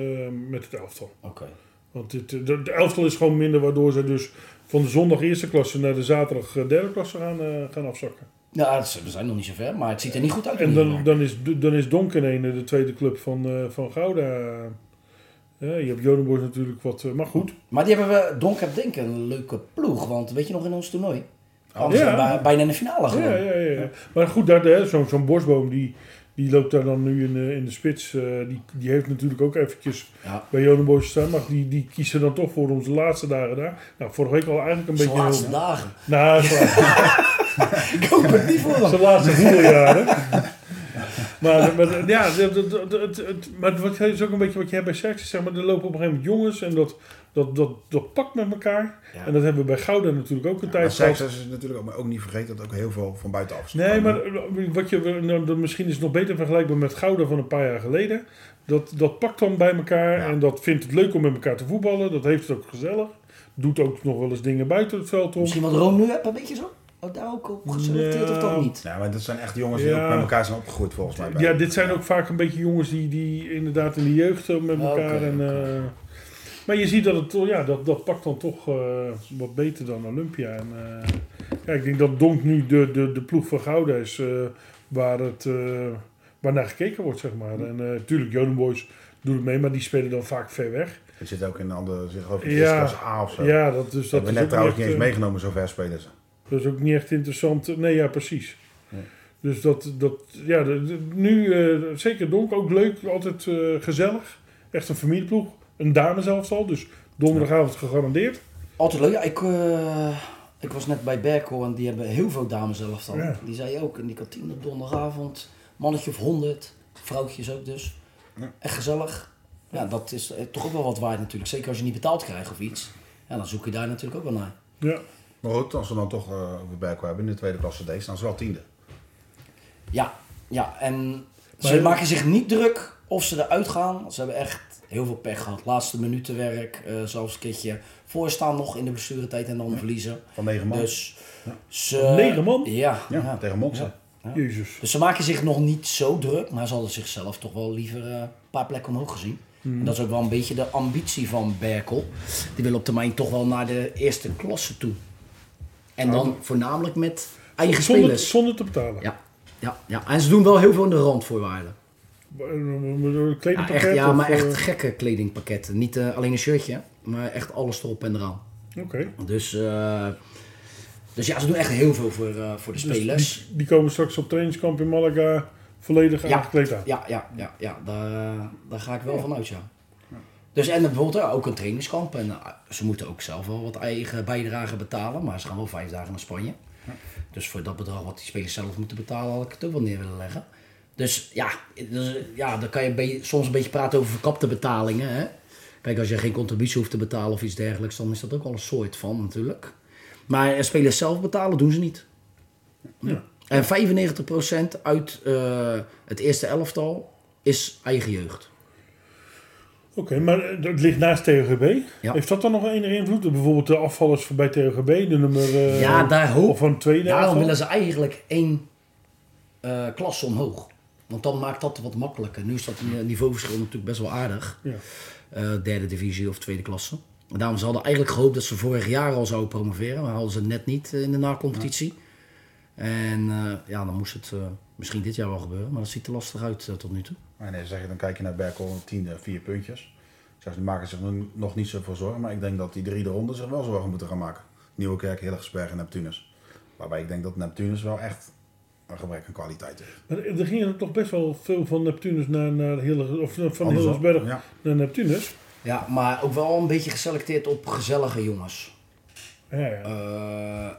Speaker 2: met het elftal.
Speaker 3: Oké.
Speaker 2: Want het, eh, de, de elftal is gewoon minder, waardoor ze dus van de zondag eerste klasse naar de zaterdag eh, derde klasse gaan, eh, gaan afzakken.
Speaker 3: Ja, het is- Nou, we zijn nog niet zo ver, maar het ziet er niet goed uit. in
Speaker 2: En
Speaker 3: ieder
Speaker 2: dan,
Speaker 3: geval.
Speaker 2: dan, is, dan is Donkenene de tweede club van, eh, van Gouda. Ja, je hebt Jodenborg natuurlijk wat, eh, maar goed.
Speaker 3: Maar die hebben we, Donk heb denk ik, een leuke ploeg. Want weet je nog, in ons toernooi? Anders
Speaker 2: Oh, ja.
Speaker 3: zijn we bij- bijna in de finale gewoon.
Speaker 2: Ja, ja, ja, ja. Maar goed, daar, hè, zo'n zo'n bosboom die, die loopt daar dan nu in, de- in de spits. eh, die, die heeft natuurlijk ook eventjes
Speaker 3: Ja.
Speaker 2: bij Jodenborg staan. Maar die, die kiezen dan toch voor onze laatste dagen daar. Nou, vorige week al eigenlijk een
Speaker 3: Zijn
Speaker 2: beetje...
Speaker 3: laatste dagen.
Speaker 2: Nou, zijn laatste-
Speaker 3: Ik hoop het niet
Speaker 2: [laughs]
Speaker 3: voor hem.
Speaker 2: Zijn laatste voeljaren. maar, maar, ja, dat- dat- dat- het, het, maar het wordt- het is ook een beetje wat je hebt bij seks. Zeg maar, er lopen op een gegeven moment jongens en dat, dat, dat, dat pakt met elkaar.
Speaker 3: Ja.
Speaker 2: En dat hebben we bij Gouda natuurlijk ook een
Speaker 4: Maar
Speaker 2: tijd
Speaker 4: Sijks
Speaker 2: gehad.
Speaker 4: is natuurlijk ook, maar ook niet vergeten dat ook heel veel van buitenaf is.
Speaker 2: Nee, maar eh, wat je, nou, dat misschien is het nog beter vergelijkbaar met Gouda van een paar jaar geleden. Dat, dat pakt dan bij elkaar
Speaker 4: Ja.
Speaker 2: en dat vindt het leuk om met elkaar te voetballen. Dat heeft het ook gezellig. Doet ook nog wel eens dingen buiten het veld om.
Speaker 3: Misschien wat Roon nu heb, een beetje zo? Oh, daar ook op geselecteerd of dat
Speaker 2: Nou,
Speaker 3: niet?
Speaker 4: Ja, maar dat zijn echt jongens die
Speaker 2: Ja.
Speaker 4: ook met elkaar zijn opgegroeid volgens mij. bij-
Speaker 2: Ja, dit zijn ook vaak een beetje jongens die, die inderdaad in de jeugd eh, met
Speaker 3: Oké,
Speaker 2: elkaar. en, eh, maar je ziet dat het toch- ja, dat, dat pakt dan toch eh, wat beter dan Olympia. En, eh, ja, ik denk dat Donk nu de, de, de ploeg van Gouda is eh, waar, het, eh, waar naar gekeken wordt, zeg maar. En natuurlijk, Joden Boys doet het mee, maar die spelen dan vaak ver weg.
Speaker 4: Die zitten ook in de andere, zeg geloof ik,
Speaker 2: Ja.
Speaker 4: eerste klasse A of zo.
Speaker 2: Ja, dat, dus, dat
Speaker 4: hebben we
Speaker 2: is
Speaker 4: net
Speaker 2: ook
Speaker 4: trouwens
Speaker 2: echt,
Speaker 4: niet eens
Speaker 2: eh,
Speaker 4: meegenomen, zover spelen ze.
Speaker 2: Dat is ook niet echt interessant. Nee, ja, precies.
Speaker 4: Nee.
Speaker 2: Dus dat, dat ja, de- de- nu eh, zeker Donk ook leuk, altijd eh, gezellig. Echt een familieploeg. Een dameselftal, dus donderdagavond gegarandeerd.
Speaker 3: Altijd leuk. Ja, ik, eh, ik was net bij Berkel en die hebben heel veel dames zelf dan.
Speaker 2: Ja.
Speaker 3: Die zei ook in die kantine op donderdagavond. Mannetje of honderd. Vrouwtjes ook dus.
Speaker 4: Ja.
Speaker 3: Echt gezellig. Ja, dat is eh, toch ook wel wat waard natuurlijk. Zeker als je niet betaald krijgt of iets. Ja, dan zoek je daar natuurlijk ook wel naar.
Speaker 2: Ja.
Speaker 4: Maar goed, als we dan toch eh over Berkel hebben in de tweede klasse D, staan ze wel tiende.
Speaker 3: Ja, ja. En ze
Speaker 2: Maar-
Speaker 3: maken zich niet druk of ze eruit gaan. Ze hebben echt heel veel pech gehad. Laatste minutenwerk, eh zelfs een keertje voorstaan nog in de blessuretijd en dan verliezen.
Speaker 4: Van negen man.
Speaker 3: Dus ze...
Speaker 2: Negen man?
Speaker 3: Ja,
Speaker 4: ja,
Speaker 3: ja.
Speaker 4: tegen Moxen.
Speaker 2: Jezus.
Speaker 3: Dus ze maken zich nog niet zo druk, maar ze hadden zichzelf toch wel liever eh, een paar plekken omhoog gezien.
Speaker 4: Hmm.
Speaker 3: En dat is ook wel een beetje de ambitie van Berkel. Die wil op termijn toch wel naar de eerste klasse toe. En dan voornamelijk met eigen
Speaker 2: Zonder,
Speaker 3: spelers.
Speaker 2: zonder te betalen.
Speaker 3: Ja, ja, ja, en ze doen wel heel veel in de randvoorwaarden.
Speaker 2: Eh, Een
Speaker 3: Ja,
Speaker 2: kledingpakket.
Speaker 3: echt, ja
Speaker 2: of,
Speaker 3: maar
Speaker 2: eh,
Speaker 3: echt gekke kledingpakketten. Niet eh, alleen een shirtje, maar echt alles erop en eraan.
Speaker 2: Oké.
Speaker 3: Dus, eh, Dus ja, ze doen echt heel veel voor, eh, voor de
Speaker 2: Dus
Speaker 3: spelers.
Speaker 2: die, die komen straks op trainingskamp in Malaga volledig
Speaker 3: Ja.
Speaker 2: aangekleed aan.
Speaker 3: Ja, ja, ja, ja daar, eh, daar ga ik wel van uit, ja. Dus en bijvoorbeeld eh, ook een trainingskamp. En eh, ze moeten ook zelf wel wat eigen bijdrage betalen, maar ze gaan wel vijf dagen naar Spanje. Dus voor dat bedrag wat die spelers zelf moeten betalen, had ik het ook wel neer willen leggen. Dus ja, dus, eh, ja dan kan je een beetje- soms een beetje praten over verkapte betalingen. Hè? Kijk, als je geen contributie hoeft te betalen of iets dergelijks, dan is dat ook wel een soort van natuurlijk. Maar eh, spelers zelf betalen doen ze niet. En 95% uit eh, het eerste elftal is eigen jeugd.
Speaker 2: Oké, maar eh, dat ligt naast TGB.
Speaker 3: Ja.
Speaker 2: Heeft dat dan nog enige invloed? Bijvoorbeeld de afvallers bij TGB, de nummer... eh,
Speaker 3: Ja, daar hoop-
Speaker 2: Of van het tweede
Speaker 3: Daarom
Speaker 2: elftal?
Speaker 3: willen ze eigenlijk één eh klas omhoog. Want dan maakt dat wat makkelijker. Nu is dat ni- niveauverschil natuurlijk best wel aardig.
Speaker 2: Ja.
Speaker 3: Eh, derde divisie of tweede klasse. En daarom ze hadden eigenlijk gehoopt dat ze vorig jaar al zouden promoveren. Maar hadden ze net niet eh, in de na-competitie. En eh, ja, dan moest het eh, misschien dit jaar wel gebeuren. Maar dat ziet er lastig uit eh, tot nu toe.
Speaker 4: En dan, zeg je, dan kijk je naar Berkel, 10, vier puntjes. Zeg, die maken zich nu nog niet zoveel zorgen, maar ik denk dat die drie eronder zich wel zorgen moeten gaan maken. Nieuwekerk, Hillegersberg en Neptunus. Waarbij ik denk dat Neptunus wel echt een gebrek aan kwaliteit heeft.
Speaker 2: Maar er gingen er toch best wel veel van Neptunus naar, naar Hille, of eh, van
Speaker 4: Andersom,
Speaker 2: Hillersberg
Speaker 4: ja.
Speaker 2: naar Neptunus.
Speaker 3: Ja, maar ook wel een beetje geselecteerd op gezellige jongens.
Speaker 2: Ja, ja.
Speaker 3: Eh,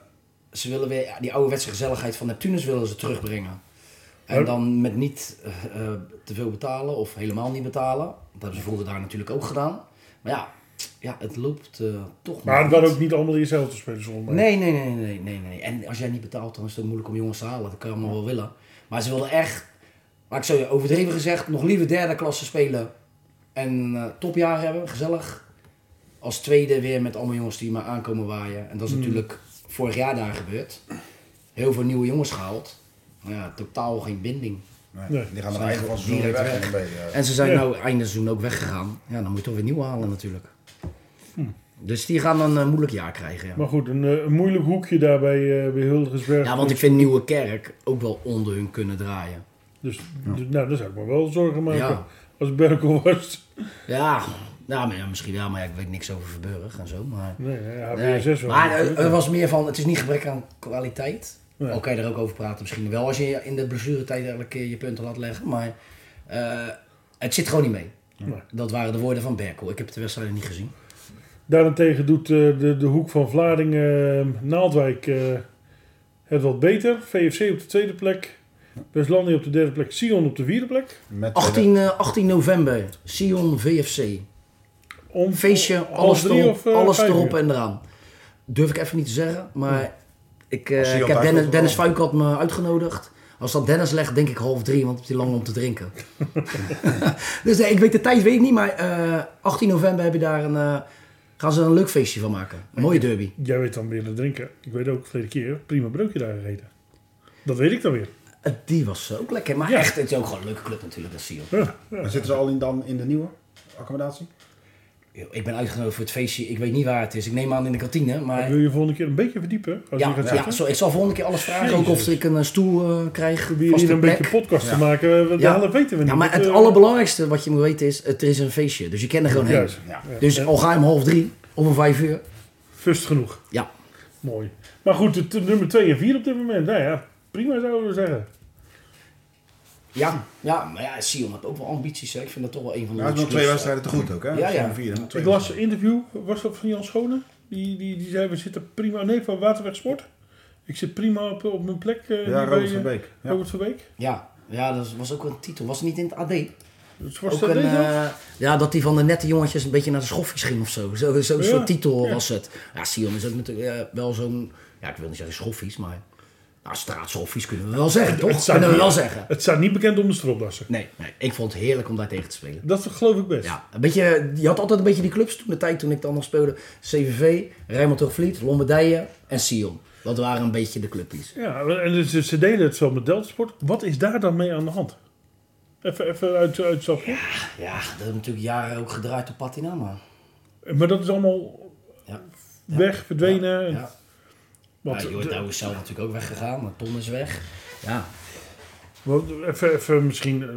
Speaker 3: ze willen weer ja, die ouderwetse gezelligheid van Neptunus willen ze terugbrengen.
Speaker 2: Ja.
Speaker 3: En dan met niet eh, eh, te veel betalen of helemaal niet betalen. Dat hebben ze vroeger daar natuurlijk ook gedaan. Maar ja, ja het loopt eh, toch
Speaker 2: maar het
Speaker 3: niet.
Speaker 2: waren ook niet allemaal diezelfde spelers volgens mij.
Speaker 3: Nee, nee, nee, nee, nee, nee. En als jij niet betaalt, dan is het ook moeilijk om jongens te halen. Dat kan je allemaal wel willen. Maar ze wilden echt, maar ik zou je overdreven gezegd, nog liever derde klasse spelen en eh, topjaar hebben, gezellig. Als tweede weer met allemaal jongens die maar aankomen waaien. En dat is
Speaker 4: Hmm.
Speaker 3: natuurlijk vorig jaar daar gebeurd. Heel veel nieuwe jongens gehaald. Maar ja, totaal geen binding.
Speaker 4: Nee,
Speaker 2: Nee.
Speaker 4: Die gaan er
Speaker 3: Zijn
Speaker 4: eigen van
Speaker 3: direct
Speaker 4: zonder weg.
Speaker 3: weg.
Speaker 4: en een beetje, eh,
Speaker 3: En ze zijn
Speaker 2: Ja.
Speaker 3: nou einde seizoen ook weggegaan. Ja, dan moet je toch weer nieuw halen natuurlijk.
Speaker 4: Hmm.
Speaker 3: Dus die gaan een eh, moeilijk jaar krijgen. Ja.
Speaker 2: Maar goed, een, eh, een moeilijk hoekje daar bij, eh, bij Hillegersberg.
Speaker 3: Ja, want ik vind Nieuwe Kerk ook wel onder hun kunnen draaien.
Speaker 2: Dus dus, nou, daar zou ik me wel zorgen maken
Speaker 3: Ja.
Speaker 2: als Berkel was. [laughs]
Speaker 3: Ja, nou, maar ja misschien wel, maar ja, ik weet niks over Verburg en zo. Maar,
Speaker 2: Nee, ja,
Speaker 3: Nee,
Speaker 2: HBSS wel.
Speaker 3: maar eh, er,
Speaker 2: natuurlijk.
Speaker 3: er was meer van, het is niet gebrek aan kwaliteit.
Speaker 2: Nee.
Speaker 3: Oké, daar ook over praten misschien wel, als je in de blessuretijd elke keer je punten laat leggen. Maar eh, het zit gewoon niet mee.
Speaker 2: Nee.
Speaker 3: Dat waren de woorden van Berkel. Ik heb de wedstrijd niet gezien.
Speaker 2: Daarentegen doet eh, de, de hoek van Vlaardingen, eh, Naaldwijk eh, het wat beter. VFC op de tweede plek. Westlandia op de derde plek. Sion op de vierde plek.
Speaker 4: met
Speaker 3: 18, eh, 18 november, Sion VFC.
Speaker 2: Om,
Speaker 3: Feestje,
Speaker 2: om-
Speaker 3: alles,
Speaker 2: drie
Speaker 3: erop,
Speaker 2: of, eh,
Speaker 3: alles
Speaker 2: vijf
Speaker 3: erop
Speaker 2: uur?
Speaker 3: en eraan. Durf ik even niet te zeggen, maar ik, eh,
Speaker 4: Als hij
Speaker 3: ik
Speaker 4: op
Speaker 3: heb
Speaker 4: uitkomt,
Speaker 3: Dennis, Dennis
Speaker 4: dan.
Speaker 3: Fuik had me uitgenodigd. Als dat Dennis legt, denk ik half drie, want het is lang om te
Speaker 2: [laughs]
Speaker 3: drinken. [laughs] dus nee, ik weet de tijd, weet ik niet, maar eh, 18 november heb je daar een, eh, gaan ze er een leuk feestje van maken. Een mooie derby.
Speaker 2: Jij weet dan weer te drinken. Ik weet ook, verleden keer, prima broodje daar gegeten. Dat weet ik dan weer.
Speaker 3: Eh, Die was ook lekker, maar
Speaker 2: Ja.
Speaker 3: echt, het is ook gewoon een leuke club natuurlijk, dat zie je ook.
Speaker 2: Ja, ja.
Speaker 4: Zitten ze al in, dan in de nieuwe accommodatie?
Speaker 3: Yo, Ik ben uitgenodigd voor het feestje, ik weet niet waar het is. Ik neem aan in de kantine, maar...
Speaker 2: Wil je volgende keer een beetje verdiepen? Als je
Speaker 3: Ja,
Speaker 2: gaat
Speaker 3: ja,
Speaker 2: zitten?
Speaker 3: zo, ik zal volgende keer alles vragen, ook
Speaker 2: Jezus.
Speaker 3: of ik een eh, stoel eh, krijg,
Speaker 2: Probeer
Speaker 3: vaste
Speaker 2: hier een
Speaker 3: plek.
Speaker 2: beetje podcast te
Speaker 4: Ja.
Speaker 2: maken. Dat
Speaker 3: Ja.
Speaker 2: weten we niet.
Speaker 3: Ja, maar
Speaker 2: Dat,
Speaker 3: het
Speaker 2: eh,
Speaker 3: allerbelangrijkste wat je moet weten is, het is een feestje. Dus je kent er gewoon heen.
Speaker 2: Juist.
Speaker 4: Ja.
Speaker 3: Dus al ga je om half drie of om vijf uur.
Speaker 2: Vust genoeg.
Speaker 3: Ja,
Speaker 2: Mooi. Maar goed, het, eh, nummer 2 en 4 op dit moment. Nou ja, prima zouden we zeggen.
Speaker 3: ja, ja maar ja, Sion heeft ook wel ambities. Hè. Ik vind dat toch wel een van de
Speaker 4: Nou, het is nog
Speaker 3: leukste
Speaker 4: twee
Speaker 3: clubs.
Speaker 4: wedstrijden te goed ook, hè?
Speaker 3: dus eh, Ja, ja.
Speaker 4: Zo'n vier, hè? Twee
Speaker 2: Ik las een interview, was dat van Jan Schone? Die, die, die zei, we zitten prima... Nee, van Waterweg Sport. Ik zit prima op, op mijn plek. eh,
Speaker 4: Ja,
Speaker 2: hier bij,
Speaker 4: Robert
Speaker 2: eh,
Speaker 4: van Beek. Ja.
Speaker 2: Robert van Beek.
Speaker 3: Ja. ja, dat was ook een titel. Was het niet in het AD?
Speaker 2: Dus was
Speaker 3: Ook
Speaker 2: dat
Speaker 3: een,
Speaker 2: deze?
Speaker 3: eh, ja, dat die van de nette jongetjes een beetje naar de schoffies ging of zo. Zo'n zo, zo'n
Speaker 2: Ja,
Speaker 3: soort titel
Speaker 2: ja.
Speaker 3: was het. Ja, Sion is ook natuurlijk eh, wel zo'n... Ja, ik wil niet zeggen schoffies, maar... Nou, straatschoffies kunnen we wel zeggen, toch?
Speaker 2: staat
Speaker 3: Kunnen we
Speaker 2: niet-
Speaker 3: wel zeggen.
Speaker 2: Het staat niet bekend om de stropdassen.
Speaker 3: Nee, nee, ik vond het heerlijk om daar tegen te spelen.
Speaker 2: Dat geloof ik best.
Speaker 3: Ja, een beetje, je had altijd een beetje die clubs toen de tijd toen ik dan nog speelde. CVV, Rijnmond Hoogvliet, Lombardije en Sion. Dat waren een beetje de clubjes.
Speaker 2: Ja, en dus, ze, ze deden het zo met Deltasport. Wat is daar dan mee aan de hand? Even, even uit, uit zakken.
Speaker 3: Ja, dat hebben we natuurlijk jaren ook gedraaid op Patina, maar...
Speaker 2: Maar dat is allemaal
Speaker 3: Ja.
Speaker 2: weg, verdwenen.
Speaker 3: Ja,
Speaker 2: Want,
Speaker 3: ja
Speaker 2: de-
Speaker 3: Jordouw is zelf natuurlijk ook weggegaan, maar Ton is weg. Ja,
Speaker 2: want even, even misschien eh,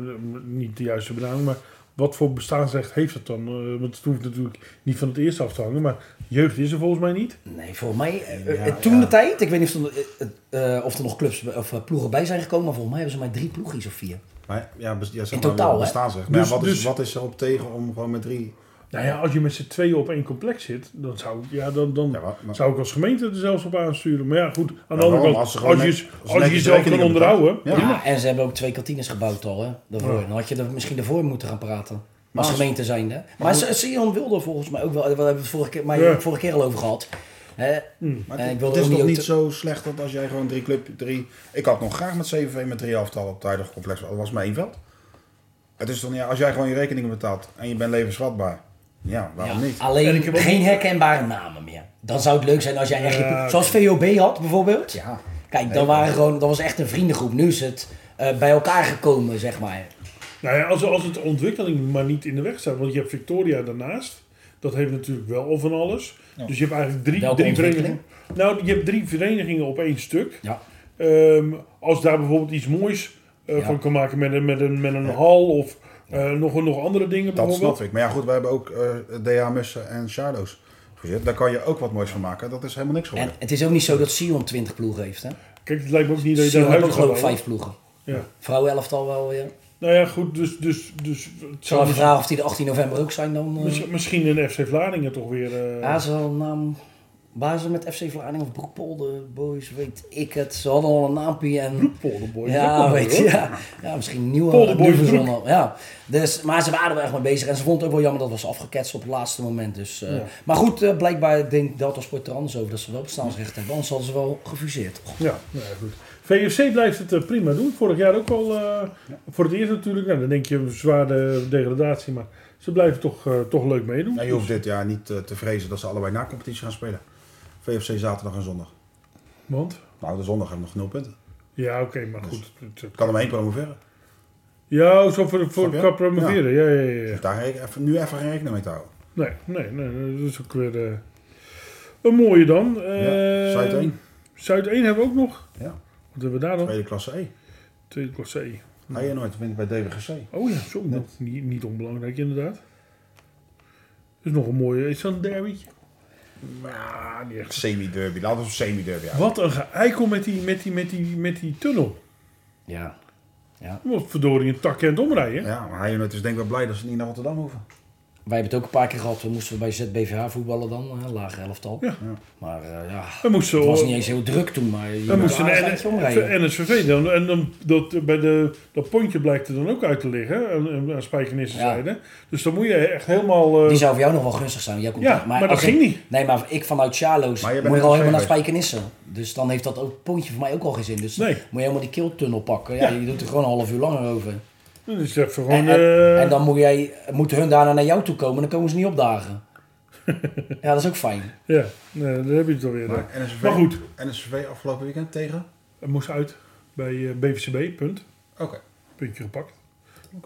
Speaker 2: niet de juiste benaming, maar wat voor bestaansrecht heeft het dan? Eh, want het hoeft natuurlijk niet van het eerste af te hangen, maar jeugd is er volgens mij niet.
Speaker 3: Nee, volgens mij, eh,
Speaker 4: Ja,
Speaker 3: toen
Speaker 4: ja.
Speaker 3: de tijd, ik weet niet of er, eh, eh, of er nog clubs of eh, ploegen bij zijn gekomen, maar volgens mij hebben ze maar drie ploegjes of vier.
Speaker 4: Maar ja, bes- ja, zeg
Speaker 3: In
Speaker 4: maar,
Speaker 3: totaal, hè?
Speaker 4: bestaansrecht. Maar ja,
Speaker 2: Dus-
Speaker 4: wat, is,
Speaker 2: dus-
Speaker 4: wat is erop tegen om gewoon met drie...
Speaker 2: Nou ja, als je met z'n tweeën op één complex zit, dan zou ik, ja, dan, dan
Speaker 4: Ja, maar- maar-
Speaker 2: zou ik als gemeente er zelfs op aansturen. Maar ja, goed, aan de
Speaker 4: waarom?
Speaker 2: andere kant,
Speaker 4: Als ze
Speaker 2: als,
Speaker 4: gewoon
Speaker 2: je,
Speaker 4: net-
Speaker 2: als
Speaker 4: als ze
Speaker 2: je
Speaker 4: netjes
Speaker 2: jezelf kan
Speaker 4: rekening hebben
Speaker 2: onderhouden,
Speaker 4: Ja.
Speaker 3: Ja. en ze hebben ook twee kantines gebouwd al, hè, daarvoor. Dan had je er misschien daarvoor moeten gaan praten.
Speaker 4: Maar
Speaker 3: Als
Speaker 4: als-
Speaker 3: gemeente zijnde. Maar, maar Sion wilde vorgens mij ook wel, we hebben het vorige keer, maar
Speaker 2: Ja.
Speaker 3: vorige keer al over gehad. Hè,
Speaker 4: Maar
Speaker 3: Eh,
Speaker 4: het,
Speaker 3: ik wil
Speaker 4: het is
Speaker 3: ook
Speaker 4: toch
Speaker 3: niet-
Speaker 4: niet zo slecht dat als jij gewoon drie club... Drie, ik had nog graag met CVV met drie aftallen op het huidige complex. Dat was maar één veld. Het is toch, ja, als jij gewoon je rekeningen betaalt en je bent levensvatbaar. Ja, waarom
Speaker 3: Ja, ah,
Speaker 4: niet?
Speaker 2: En
Speaker 3: Alleen
Speaker 2: ik heb ook
Speaker 3: geen herkenbare namen meer. Dan zou het leuk zijn als jij echt...
Speaker 2: Ja, oké.
Speaker 3: Zoals VOB had bijvoorbeeld.
Speaker 4: Ja.
Speaker 3: Kijk, dan waren gewoon, dat was echt een vriendengroep. Nu is het eh, bij elkaar gekomen, zeg maar.
Speaker 2: Nou ja, als, als het de ontwikkeling maar niet in de weg staat. Want je hebt Victoria daarnaast. Dat heeft natuurlijk wel al van alles. Dus je hebt eigenlijk drie,
Speaker 3: Welke
Speaker 2: drie
Speaker 3: ontwikkeling?
Speaker 2: verenigingen. Nou, je hebt drie verenigingen op één stuk.
Speaker 3: Ja.
Speaker 2: Ehm, als daar bijvoorbeeld iets moois eh,
Speaker 3: Ja.
Speaker 2: van kan maken met een, met een, met een hal of eh, nog, nog andere dingen
Speaker 4: Dat
Speaker 2: bijvoorbeeld.
Speaker 4: snap ik. Maar ja, goed, we hebben ook eh, DH Mussen en Shadows. Daar kan je ook wat moois van maken. Dat is helemaal niks
Speaker 3: En
Speaker 4: geworden.
Speaker 3: het is ook niet zo dat Sion 20 ploegen heeft, hè?
Speaker 2: Kijk, het lijkt me ook niet dat je
Speaker 3: Sion
Speaker 2: daar
Speaker 3: heeft
Speaker 2: huis
Speaker 3: ook
Speaker 2: gaat
Speaker 3: geloof ik
Speaker 2: bouwen.
Speaker 3: vijf ploegen.
Speaker 2: Ja.
Speaker 3: Vrouwen elftal wel weer. Ik
Speaker 2: Nou ja, goed. Dus, dus, dus het
Speaker 3: zal
Speaker 2: zou
Speaker 3: even vragen of die de 18 november ook zijn dan. eh.
Speaker 2: misschien, misschien een FC Vlaardingen toch weer... eh,
Speaker 3: Azel naam. Waar ze met FC Vlaardingen of Broekpolder Boys, weet ik het. Ze hadden al een naampje en...
Speaker 2: Polderboy. Dat
Speaker 3: Ja,
Speaker 2: kan
Speaker 3: weet
Speaker 2: wel,
Speaker 3: je.
Speaker 2: hoor.
Speaker 3: Ja. ja, misschien nieuw.
Speaker 2: Polderboy
Speaker 3: nieuw
Speaker 2: Broek.
Speaker 3: verzonnen. Ja. Dus, maar ze waren er echt mee bezig. En ze vonden het ook wel jammer dat het was afgeketst op het laatste moment. Dus, eh,
Speaker 2: Ja.
Speaker 3: Maar goed, eh, blijkbaar denkt Delta Sport er anders over. Dat ze wel bestaansrecht hebben. Anders hadden ze wel gefuseerd.
Speaker 2: Ja, nou ja, goed. VFC blijft het eh, prima doen. Vorig jaar ook al. eh, Voor het eerst natuurlijk. Nou, dan denk je zwaar de degradatie. Maar ze blijven toch, eh, toch leuk meedoen.
Speaker 4: Nou, je hoeft dit jaar niet eh, te vrezen dat ze allebei na competitie gaan spelen. VFC zaterdag en zondag.
Speaker 2: Want?
Speaker 4: Nou, de zondag hebben we nog nul punten.
Speaker 2: Ja, oké,
Speaker 4: Dus-
Speaker 2: maar goed. het- het-
Speaker 4: Kan er maar één promoveren.
Speaker 2: Ja, oh, zo voor, voor
Speaker 4: Snap je?
Speaker 2: elkaar promoveren. Ja, ja, ja. ja.
Speaker 4: Dus daar reken- even- nu even geen rekening mee te houden.
Speaker 2: Nee, nee, nee, nee, Dat is ook weer eh, een mooie dan.
Speaker 4: Ja, Zuid
Speaker 2: Eh,
Speaker 4: 1.
Speaker 2: Zuid 1 hebben we ook nog.
Speaker 4: Ja.
Speaker 2: Wat hebben we daar dan?
Speaker 4: Tweede klasse E.
Speaker 2: Tweede klasse.
Speaker 4: Ga je nooit, wint bij DWGC.
Speaker 2: Oh ja, zo. dat is Niet, niet onbelangrijk inderdaad. is nog een mooie. Is dat een derbytje? Ja, niet echt.
Speaker 4: Semi-derby, laten we het semi-derby houden.
Speaker 2: Wat een geëikel met die, met die, met die, met die tunnel.
Speaker 3: Ja.
Speaker 2: Je moet verdorie een tak en het omrijden.
Speaker 4: Ja, maar Feyenoord is denk ik wel blij dat ze niet naar Rotterdam hoeven.
Speaker 3: Wij hebben het ook een paar keer gehad. We moesten bij ZBVH voetballen dan. Hè, lage elftal.
Speaker 2: Ja.
Speaker 3: Maar eh, ja,
Speaker 2: We moesten,
Speaker 3: het was niet eens heel druk toen. Maar je
Speaker 2: we
Speaker 3: moet
Speaker 2: moesten
Speaker 3: wel
Speaker 2: naar
Speaker 3: een eindje omrijden.
Speaker 2: N- NSVV. Dan, en dan, dat, bij de, dat pontje blijkt er dan ook uit te liggen. Aan, aan- aan Spijkenissen
Speaker 3: Ja.
Speaker 2: zijde. Dus dan moet je echt helemaal... eh,
Speaker 3: Die zou voor jou nog wel gunstig zijn. Jij komt
Speaker 2: Ja,
Speaker 3: uit-
Speaker 2: maar dat
Speaker 3: als ik-
Speaker 2: ging niet.
Speaker 3: Nee, maar ik vanuit Charlo's
Speaker 4: Maar je bent
Speaker 3: moet
Speaker 4: net
Speaker 3: al
Speaker 4: op
Speaker 3: helemaal naar
Speaker 4: zee
Speaker 3: Spijkenissen. Dus dan heeft dat ook, pontje voor mij ook al geen zin. Dus
Speaker 2: Nee.
Speaker 3: moet je helemaal die kiltunnel pakken. Ja,
Speaker 2: Ja.
Speaker 3: Je doet er gewoon een half uur langer over.
Speaker 2: dan is het even
Speaker 3: En,
Speaker 2: gewoon...
Speaker 3: en,
Speaker 2: eh,
Speaker 3: en dan moet jij, moeten hun daarna naar jou toe komen. Dan komen ze niet
Speaker 2: [laughs]
Speaker 3: opdagen. ja, dat is ook fijn.
Speaker 2: Ja, nee, daar heb je het alweer.
Speaker 4: Maar, NSV,
Speaker 2: Maar goed.
Speaker 4: NSV afgelopen weekend tegen?
Speaker 2: Het moest uit bij eh BVCB. Punt.
Speaker 4: Oké.
Speaker 2: Puntje gepakt.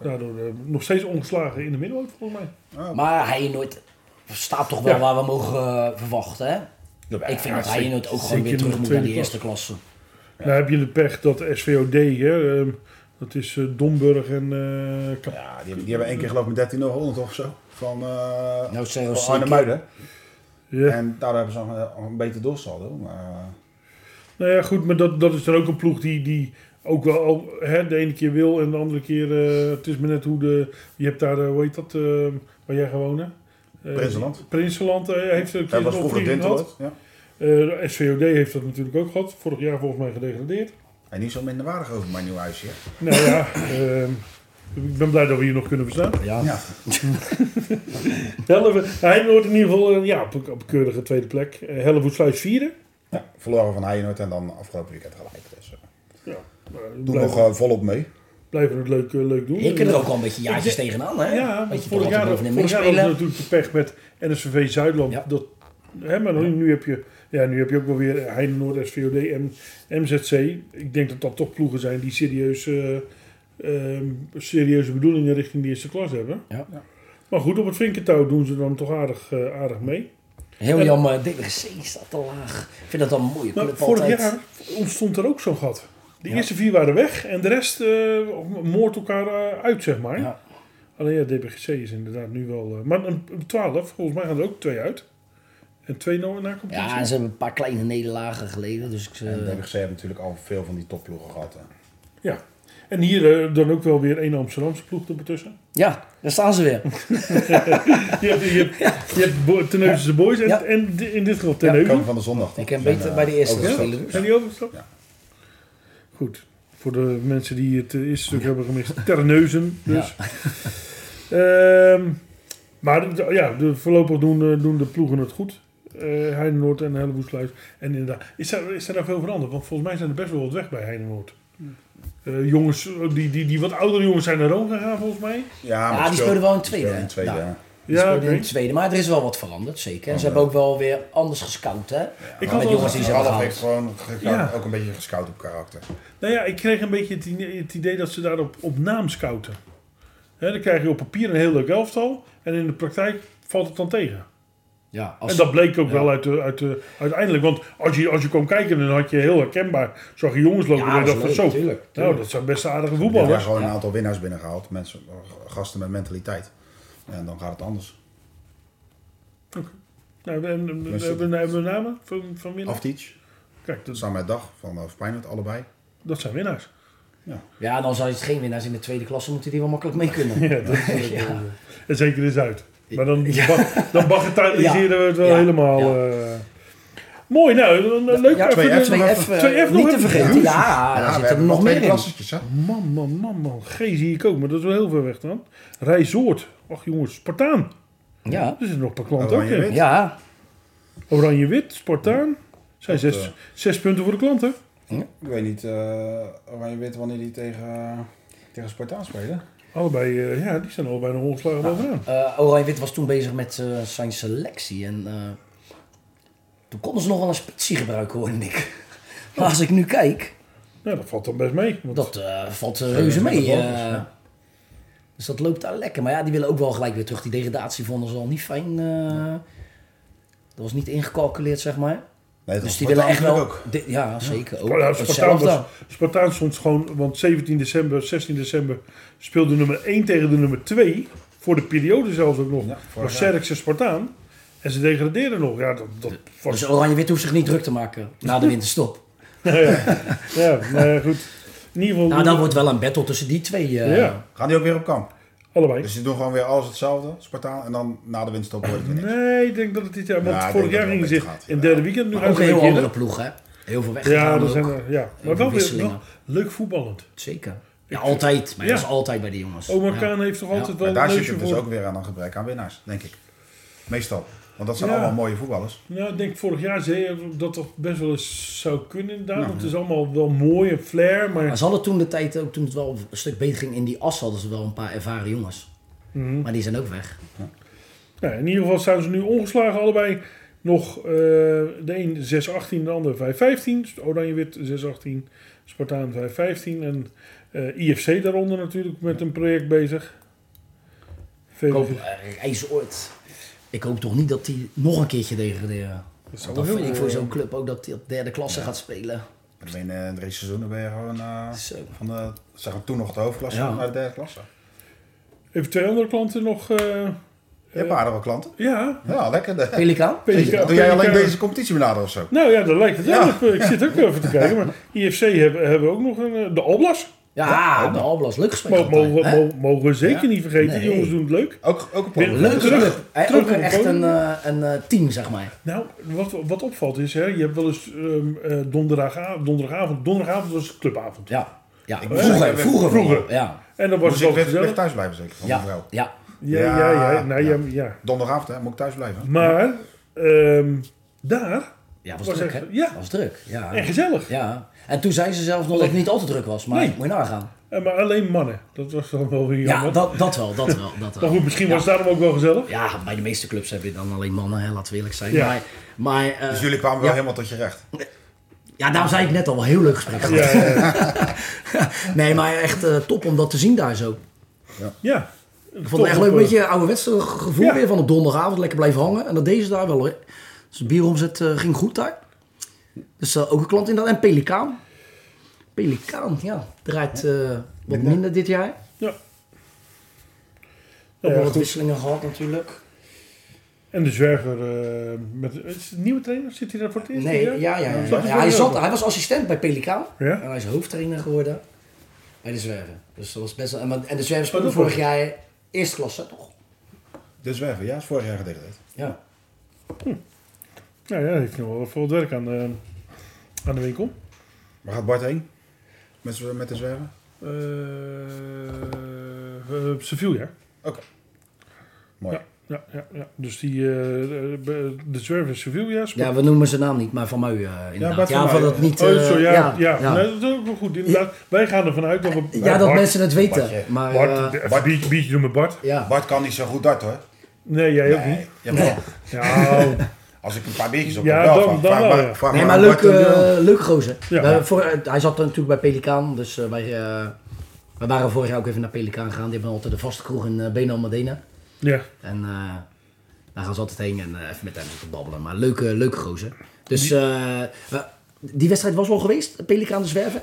Speaker 2: Daardoor eh, nog steeds ongeslagen in de middenhoek volgens mij.
Speaker 4: Oh.
Speaker 3: Maar hij nooit staat toch wel
Speaker 2: Ja.
Speaker 3: waar we mogen eh, verwachten. Hè? ik vind dat hij nooit ook gewoon
Speaker 2: zeker
Speaker 3: weer terug
Speaker 2: in de
Speaker 3: moet naar die
Speaker 2: tweede
Speaker 3: eerste klasse.
Speaker 2: Nou heb je de pech dat de SVOD, hè, ehm, dat is eh, Domburg en eh, Kap-
Speaker 4: Ja, die, die hebben één keer geloof ik met 13-0 gewonnen toch of zo? Van, eh
Speaker 3: Nou,
Speaker 4: van
Speaker 3: CLC.
Speaker 4: Arnhem Muiden.
Speaker 2: Ja.
Speaker 4: En daardoor hebben ze nog een, een beter doelsaldo. Maar eh,
Speaker 2: Nou ja, goed, maar dat, dat is dan ook een ploeg die, die ook wel al, hè, de ene keer wil en de andere keer. eh, het is maar net hoe de. Je hebt daar, eh, hoe heet dat, eh, waar jij gewoon. hè? Eh,
Speaker 4: Prinsenland.
Speaker 2: Prinsenland eh, heeft er een keer
Speaker 4: dat was
Speaker 2: een
Speaker 4: vroeger
Speaker 2: opvlieging
Speaker 4: Dinteloord. Ja.
Speaker 2: gehad. Eh, de SVOD heeft dat natuurlijk ook gehad. Vorig jaar volgens mij gedegradeerd.
Speaker 4: En niet zo minderwaardig over mijn nieuw huisje.
Speaker 2: Nou
Speaker 4: [clears throat]
Speaker 2: ja, ehm, ik ben blij dat we hier nog kunnen verstaan.
Speaker 3: Ja.
Speaker 4: Ja.
Speaker 2: Hellevo- Hij wordt in ieder geval eh, ja, op, een- op een keurige tweede plek. Eh, Hellevoetsluis vierde.
Speaker 4: ja. Verloren van Feyenoord en dan afgelopen weekend gelijk. Dus, eh,
Speaker 2: Ja, maar
Speaker 4: doe
Speaker 2: blijven-
Speaker 4: nog eh, volop mee.
Speaker 2: blijven het leuk, eh, leuk doen.
Speaker 3: Je kunt er
Speaker 2: Eh,
Speaker 3: ook wel een beetje jaartjes tegenaan. Hè?
Speaker 2: Ja, want
Speaker 3: Weet
Speaker 2: vorig
Speaker 3: je, toch altijd
Speaker 2: jaar,
Speaker 3: bovenin
Speaker 2: vorig jaar hadden we
Speaker 3: meespelen.
Speaker 2: natuurlijk de pech met NSVV Zuidland.
Speaker 3: Ja.
Speaker 2: Dat, hè, maar nu, nu heb je, ja, nu heb je ook wel weer Heine Noord, SVOD en MZC. Ik denk dat dat toch ploegen zijn die serieus, eh, ehm, serieuze bedoelingen richting de eerste klas hebben.
Speaker 3: Ja.
Speaker 4: Ja.
Speaker 2: Maar goed, op het vinkentouw doen ze dan toch aardig, eh, aardig mee.
Speaker 3: Heel
Speaker 2: En-
Speaker 3: jammer, DWC staat te laag. Ik vind dat dan een mooie
Speaker 2: Maar
Speaker 3: club
Speaker 2: vorig
Speaker 3: altijd.
Speaker 2: jaar ontstond er ook zo'n gat. De eerste vier waren weg en de rest eh moordt elkaar eh, uit, zeg maar.
Speaker 3: Ja.
Speaker 2: Alleen ja, DBGC is inderdaad nu wel... eh, maar een een 12, volgens mij gaan er ook twee uit. En twee no- na competitie.
Speaker 3: Ja, en ze hebben een paar kleine nederlagen geleden. Dus ik, eh,
Speaker 4: En de DBGC heeft natuurlijk al veel van die topploegen gehad. hè.
Speaker 2: Ja. En hier eh, dan ook wel weer één Amsterdamse ploeg ertussen. [laughs]
Speaker 3: ja, daar staan ze weer.
Speaker 2: Je hebt, je hebt, je hebt Bo- Terneuzense Boys en,
Speaker 3: Ja.
Speaker 2: en di- in dit geval
Speaker 4: De
Speaker 2: Terneuzen.
Speaker 4: van de zondag. toch?
Speaker 3: Ik ken
Speaker 4: Zijn,
Speaker 3: beter
Speaker 4: eh,
Speaker 3: bij de eerste
Speaker 4: overgestapt.
Speaker 3: spelen. dus.
Speaker 2: Zijn die overgestapt?
Speaker 4: Ja.
Speaker 2: Goed. Voor de mensen die het eh, eerste stuk hebben gemist. Terneuzen dus. [laughs] Ehm, maar d- ja, de, voorlopig doen, eh, doen de ploegen het goed. Eh Heidenoord en Hellevoetsluis. En inderdaad, is daar, is daar nou veel veranderd? Want volgens mij zijn er best wel wat weg bij Heidenoord. Eh, jongens, eh, die, die, die wat oudere jongens zijn naar Rome gegaan volgens mij.
Speaker 4: Ja, maar
Speaker 3: Ja, die
Speaker 4: speel-
Speaker 3: speelden wel in
Speaker 4: speel
Speaker 3: tweede.
Speaker 4: in
Speaker 3: hè?
Speaker 4: tweede,
Speaker 3: Ja.
Speaker 4: ja.
Speaker 3: Die speelden in
Speaker 2: oké.
Speaker 3: het tweede, maar er is wel wat veranderd, zeker. En ze
Speaker 4: Oh, Ja.
Speaker 3: hebben ook wel weer anders gescout, hè?
Speaker 2: Ik had
Speaker 3: Met
Speaker 2: al-
Speaker 3: jongens die ze hebben
Speaker 4: Ralf heeft
Speaker 3: gehaald.
Speaker 4: gewoon ge-
Speaker 2: Ja.
Speaker 4: ook een beetje gescout op karakter.
Speaker 2: Nou ja, ik kreeg een beetje het idee, het idee dat ze daar op, op naam scouten. Hè, dan krijg je op papier een heel leuk elftal. En in de praktijk valt het dan tegen.
Speaker 3: Ja,
Speaker 2: en
Speaker 3: als,
Speaker 2: dat bleek ook
Speaker 3: ja.
Speaker 2: wel uit de, uit de, uiteindelijk. Want als je, als je kwam kijken, dan had je heel herkenbaar. Zag je jongens lopen
Speaker 3: Ja,
Speaker 2: en je
Speaker 3: dat
Speaker 2: dacht van
Speaker 3: is
Speaker 2: zo.
Speaker 3: leuk, tuurlijk,
Speaker 2: Nou,
Speaker 3: tuurlijk.
Speaker 2: dat zijn best aardige
Speaker 4: We hebben
Speaker 2: voetballers.
Speaker 4: gewoon een aantal winnaars binnengehaald. Mensen, gasten met mentaliteit. En dan gaat het anders.
Speaker 2: Nou, we hebben, we hebben, we hebben namen van, van winnaars.
Speaker 4: Afteach,
Speaker 2: Kijk, dat,
Speaker 4: samen met Dag van eh, Feyenoord, allebei.
Speaker 2: dat zijn
Speaker 3: [laughs]
Speaker 2: winnaars.
Speaker 3: ja, dan zijn het geen winnaars in de tweede klasse, moeten die wel makkelijk mee
Speaker 4: [laughs]
Speaker 2: [laughs]
Speaker 3: kunnen.
Speaker 2: Ja, dat is leuk. En zeker in Zuid. Maar dan, bag- dan bagatelliseren we het wel
Speaker 3: Ja.
Speaker 2: helemaal. eh. mooi, nou, een- een leuk.
Speaker 3: Ja,
Speaker 2: even-
Speaker 4: 2F.
Speaker 3: twee F, eh,
Speaker 2: Twee F nog
Speaker 3: niet te
Speaker 2: even.
Speaker 3: vergeten. Ja, daar
Speaker 4: Ja, we
Speaker 3: zitten er
Speaker 4: hebben
Speaker 3: nog
Speaker 4: twee
Speaker 3: meer in.
Speaker 4: klassetjes, hè?
Speaker 2: Man, man, man, man. G zie ik ook, maar dat is wel heel ver weg dan. Rijsoord. Ach jongens, Spartaan.
Speaker 3: Ja,
Speaker 2: Er zitten nog een paar klanten ook in.
Speaker 4: Oranje-wit.
Speaker 3: ja.
Speaker 2: Oranje-wit, Spartaan. Zijn
Speaker 4: Dat,
Speaker 2: zes,
Speaker 4: eh,
Speaker 2: zes punten voor de klanten.
Speaker 4: Ik weet niet, eh Oranje weet wanneer die tegen, tegen Spartaan spelen.
Speaker 2: Allebei, eh, ja, die staan allebei nog ongeslagen bovenaan.
Speaker 3: Eh, Oranje-Wit was toen bezig met eh, zijn selectie. En eh, toen konden ze nog wel een spitsie gebruiken, hoorde ik. [laughs] Maar als ik nu kijk,
Speaker 2: Nou, dat valt dan best mee. Want
Speaker 3: dat eh, valt eh, reuze mee. eh. dus dat loopt daar lekker. Maar ja, die willen ook wel gelijk weer terug. Die degradatie vonden ze al niet fijn. eh. dat was niet ingecalculeerd, zeg maar.
Speaker 4: Nee,
Speaker 3: Dus die willen echt wel...
Speaker 4: Ook.
Speaker 3: Dit- ja, zeker. Ook,
Speaker 2: Nou, ja, Spartaan,
Speaker 3: hetzelfde.
Speaker 2: was, Spartaan stond gewoon, want 17 december, 16 december speelde nummer 1 tegen de nummer 2. Voor de periode zelfs ook nog.
Speaker 4: Ja,
Speaker 2: Maar
Speaker 4: vorig
Speaker 2: was
Speaker 4: jaar.
Speaker 2: Serkse Spartaan. En ze degradeerden nog. Ja, dat, dat was
Speaker 3: Dus Oranje-Wit hoeft zich niet druk te maken
Speaker 2: [laughs]
Speaker 3: na de winterstop.
Speaker 2: Nou ja, ja maar ja, goed. In ieder geval
Speaker 3: nou, dan wordt wel een battle tussen die twee. eh.
Speaker 2: ja,
Speaker 4: Gaan die ook weer op kamp?
Speaker 2: allebei.
Speaker 4: Dus die doen gewoon weer alles hetzelfde, Spartaan. En dan na de winst op wordt het weer niks.
Speaker 2: Nee, ik denk dat het dit jaar... Want
Speaker 4: Ja, ik
Speaker 2: vorig
Speaker 4: denk dat
Speaker 2: jaar
Speaker 4: het
Speaker 2: gingen
Speaker 4: wel
Speaker 2: ze
Speaker 4: beter gaat,
Speaker 2: in
Speaker 4: ja.
Speaker 2: derde weekend. Nu
Speaker 3: Maar
Speaker 2: gaan
Speaker 3: ook
Speaker 2: ze weer
Speaker 3: heel andere
Speaker 2: keer.
Speaker 3: ploeg, hè? Heel veel weg.
Speaker 2: Ja,
Speaker 3: dat
Speaker 2: dat zijn er, ja. maar wel weer
Speaker 3: wisselingen.
Speaker 2: wel leuk voetballend.
Speaker 3: Zeker. Ja, altijd. Maar
Speaker 2: eh, Ja.
Speaker 3: dat is altijd bij die jongens.
Speaker 2: Omar
Speaker 3: Ja.
Speaker 2: Kaan heeft toch
Speaker 3: Ja.
Speaker 2: altijd wel
Speaker 4: Maar
Speaker 2: een
Speaker 4: daar zit
Speaker 2: neusje
Speaker 4: je
Speaker 2: voor.
Speaker 4: dus ook weer aan een gebrek aan winnaars, denk ik. Meestal. Want dat zijn
Speaker 2: Ja.
Speaker 4: allemaal mooie voetballers.
Speaker 2: Nou, ik denk vorig jaar zei je dat toch best wel eens zou kunnen inderdaad. Want het is allemaal wel mooi en flair, maar...
Speaker 3: Maar ze hadden toen de tijd ook, toen het wel een stuk beter ging in die as, hadden ze wel een paar ervaren jongens.
Speaker 2: Mhm.
Speaker 3: Maar die zijn ook weg.
Speaker 2: Nou, in ieder geval staan ze nu ongeslagen allebei. Nog eh, de een 6-18, de ander Dus 5-15. Oranje-wit 6-18, Spartaan 5-15. En eh, IFC daaronder natuurlijk met een project bezig. VVV.
Speaker 3: Koop, eh, IJzeroord. Ik hoop toch niet dat die nog een keertje degraderen.
Speaker 2: Dat zou
Speaker 3: Want dan
Speaker 2: heel
Speaker 3: vind ik
Speaker 2: mooi
Speaker 3: voor
Speaker 2: zijn.
Speaker 3: zo'n club ook dat die op derde klasse gaat spelen.
Speaker 4: Dan ben je in eh, drie seizoenen ben je gewoon eh,
Speaker 3: Zo.
Speaker 4: van de, zeg maar, toen nog de hoofdklasse
Speaker 3: Ja.
Speaker 4: naar de derde klasse.
Speaker 2: Even twee andere klanten nog. eh,
Speaker 4: Je hebt aardig wat klanten.
Speaker 2: ja,
Speaker 4: Ja, lekker. De,
Speaker 3: Pelikaan?
Speaker 2: PSV.
Speaker 4: doe jij alleen
Speaker 2: PSV.
Speaker 4: deze competitie benaderen of zo?
Speaker 2: Nou ja, dat lijkt het wel.
Speaker 4: Ja.
Speaker 2: op. Ik zit ook even te kijken. Maar IFC hebben, hebben ook nog een. eh, De Oblas.
Speaker 3: Ja, de Alblas. Leuk gespeeld.
Speaker 2: Mogen,
Speaker 3: altijd,
Speaker 2: mogen,
Speaker 3: hè?
Speaker 2: mogen, mogen we zeker
Speaker 3: Ja.
Speaker 2: niet vergeten. Die
Speaker 3: Nee.
Speaker 2: jongens doen het leuk.
Speaker 4: Ook, ook een
Speaker 2: Win-
Speaker 4: probleem.
Speaker 3: Leuke
Speaker 2: terug-
Speaker 3: club. Hij-
Speaker 2: terug
Speaker 3: ook
Speaker 2: op het
Speaker 3: echt
Speaker 2: podium.
Speaker 3: een, eh, een eh, team, zeg maar.
Speaker 2: Nou, wat, wat opvalt is, hè, je hebt wel eens ehm, eh, donderdaga- donderdagavond. Donderdagavond was het clubavond.
Speaker 3: Ja. ja.
Speaker 4: Ik
Speaker 3: Vroeger,
Speaker 4: moest
Speaker 3: vroeger,
Speaker 4: even-
Speaker 3: vroeger.
Speaker 2: vroeger.
Speaker 3: Ja.
Speaker 2: En dan was
Speaker 4: Moet
Speaker 2: het
Speaker 4: ik
Speaker 2: ook
Speaker 4: weer, weer
Speaker 2: gezellig.
Speaker 4: thuis blijven zeker, van mijn
Speaker 3: Ja.
Speaker 4: vrouw.
Speaker 3: ja.
Speaker 2: Ja, ja, ja.
Speaker 4: Ja.
Speaker 2: Nou, ja, ja.
Speaker 4: Donderdagavond hè, moet ik thuis blijven.
Speaker 2: Maar ehm, daar
Speaker 3: Ja, was,
Speaker 2: Was
Speaker 3: druk, hè?
Speaker 2: echt- ja.
Speaker 3: Was druk, ja.
Speaker 2: en gezellig.
Speaker 3: Ja. En toen zei ze zelfs nog dat het niet al te druk was, maar
Speaker 2: Nee.
Speaker 3: moet je nagaan.
Speaker 2: Eh, maar alleen mannen. Dat was dan wel weer
Speaker 3: Ja,
Speaker 2: jammer.
Speaker 3: dat, dat wel, dat wel,
Speaker 2: [laughs]
Speaker 3: dat
Speaker 2: maar
Speaker 3: wel.
Speaker 2: goed, misschien was het daarom ook wel gezellig.
Speaker 3: Ja, bij de meeste clubs heb je dan alleen mannen, hè, laten we eerlijk zijn.
Speaker 2: Ja.
Speaker 3: Maar, maar eh,
Speaker 4: Dus jullie kwamen
Speaker 3: ja.
Speaker 4: wel helemaal tot je recht.
Speaker 3: ja, daarom zei ik net al, wel heel leuk gesprek gehad.
Speaker 2: Ja, ja, ja.
Speaker 3: Nee, maar echt eh, top om dat te zien daar zo.
Speaker 2: ja.
Speaker 3: Ik vond het echt leuk, een beetje ouderwets gevoel
Speaker 2: eh, Ja.
Speaker 3: weer van op donderdagavond, lekker blijven hangen. En dat deze daar wel, hoor. Dus de bieromzet eh, ging goed daar. Dus eh, ook een klant in dat. En Pelikaan. Pelikaan, ja. Draait eh, wat minder dit jaar.
Speaker 2: Ja. Ja,
Speaker 3: Ook wel
Speaker 2: goed.
Speaker 3: wat wisselingen gehad natuurlijk.
Speaker 2: En de zwerver, eh, met, is het een nieuwe trainer? Zit hij daar voor het eerst?
Speaker 3: Nee, ja,
Speaker 2: weer?
Speaker 3: ja, ja.
Speaker 2: Zat
Speaker 3: ja.
Speaker 2: hij
Speaker 3: hij,
Speaker 2: voor
Speaker 3: zat,
Speaker 2: jou?
Speaker 3: hij was assistent bij Pelikaan.
Speaker 2: Ja?
Speaker 3: En hij is hoofdtrainer geworden bij de Zwerver. Dus dat was best wel... en wat- En de Zwerver speelde
Speaker 2: dat
Speaker 3: vorig
Speaker 2: was-
Speaker 3: jaar eerste klasse, toch?
Speaker 4: De zwerver, ja, is vorig jaar gedegradeerd.
Speaker 3: Ja.
Speaker 2: Ja, ja, hij heeft nog wel veel werk aan de, aan de winkel.
Speaker 4: Waar gaat Bart heen? Met, z'n- met de zwerver?
Speaker 2: Eh eh Sevilla.
Speaker 4: Mooi.
Speaker 2: Ja. Ja, ja, ja. Dus die, eh, eh, de zwerver is Sevilla. Sp-
Speaker 3: Ja, we noemen zijn naam niet, maar van mij eh inderdaad.
Speaker 4: Bart
Speaker 3: Ja,
Speaker 4: van
Speaker 3: van
Speaker 4: Mui,
Speaker 3: dat niet...
Speaker 2: oh,
Speaker 3: eh,
Speaker 2: zo, ja, ja,
Speaker 3: ja.
Speaker 2: Nee, dat is ook wel goed. Inderdaad, wij gaan ervan uit dat we...
Speaker 3: Ja,
Speaker 2: Nou,
Speaker 3: dat
Speaker 2: Bart-
Speaker 3: mensen het weten.
Speaker 4: Bartje.
Speaker 3: Maar,
Speaker 2: Bart,
Speaker 3: eh,
Speaker 2: even een biertje, biertje doen met Bart.
Speaker 3: ja.
Speaker 4: Bart kan niet zo goed dart hoor.
Speaker 2: Nee, jij ook niet.
Speaker 4: jawel.
Speaker 2: Nou,
Speaker 3: [laughs]
Speaker 4: Als ik een paar biertjes op
Speaker 2: Ja,
Speaker 4: heb, wel,
Speaker 2: dan- dan
Speaker 4: vraag- vraag
Speaker 2: wel,
Speaker 4: maar-
Speaker 2: ja.
Speaker 4: vraag
Speaker 3: Nee,
Speaker 4: maar
Speaker 3: maar
Speaker 4: aan
Speaker 3: leuk,
Speaker 4: Bart en Dylan.
Speaker 3: eh, leuk gozer.
Speaker 2: Ja.
Speaker 3: Eh, voor, eh, hij zat natuurlijk bij Pelikaan, dus eh, wij, eh, wij waren vorig jaar ook even naar Pelikaan gegaan. Die hebben altijd de vaste kroeg in eh Benal Madena.
Speaker 2: ja.
Speaker 3: En eh, daar gaan ze altijd heen en eh, even met hem zitten babbelen. Maar leuke, leuke gozer. Dus die, die wedstrijd was al geweest, Pelikaan de Zwerven.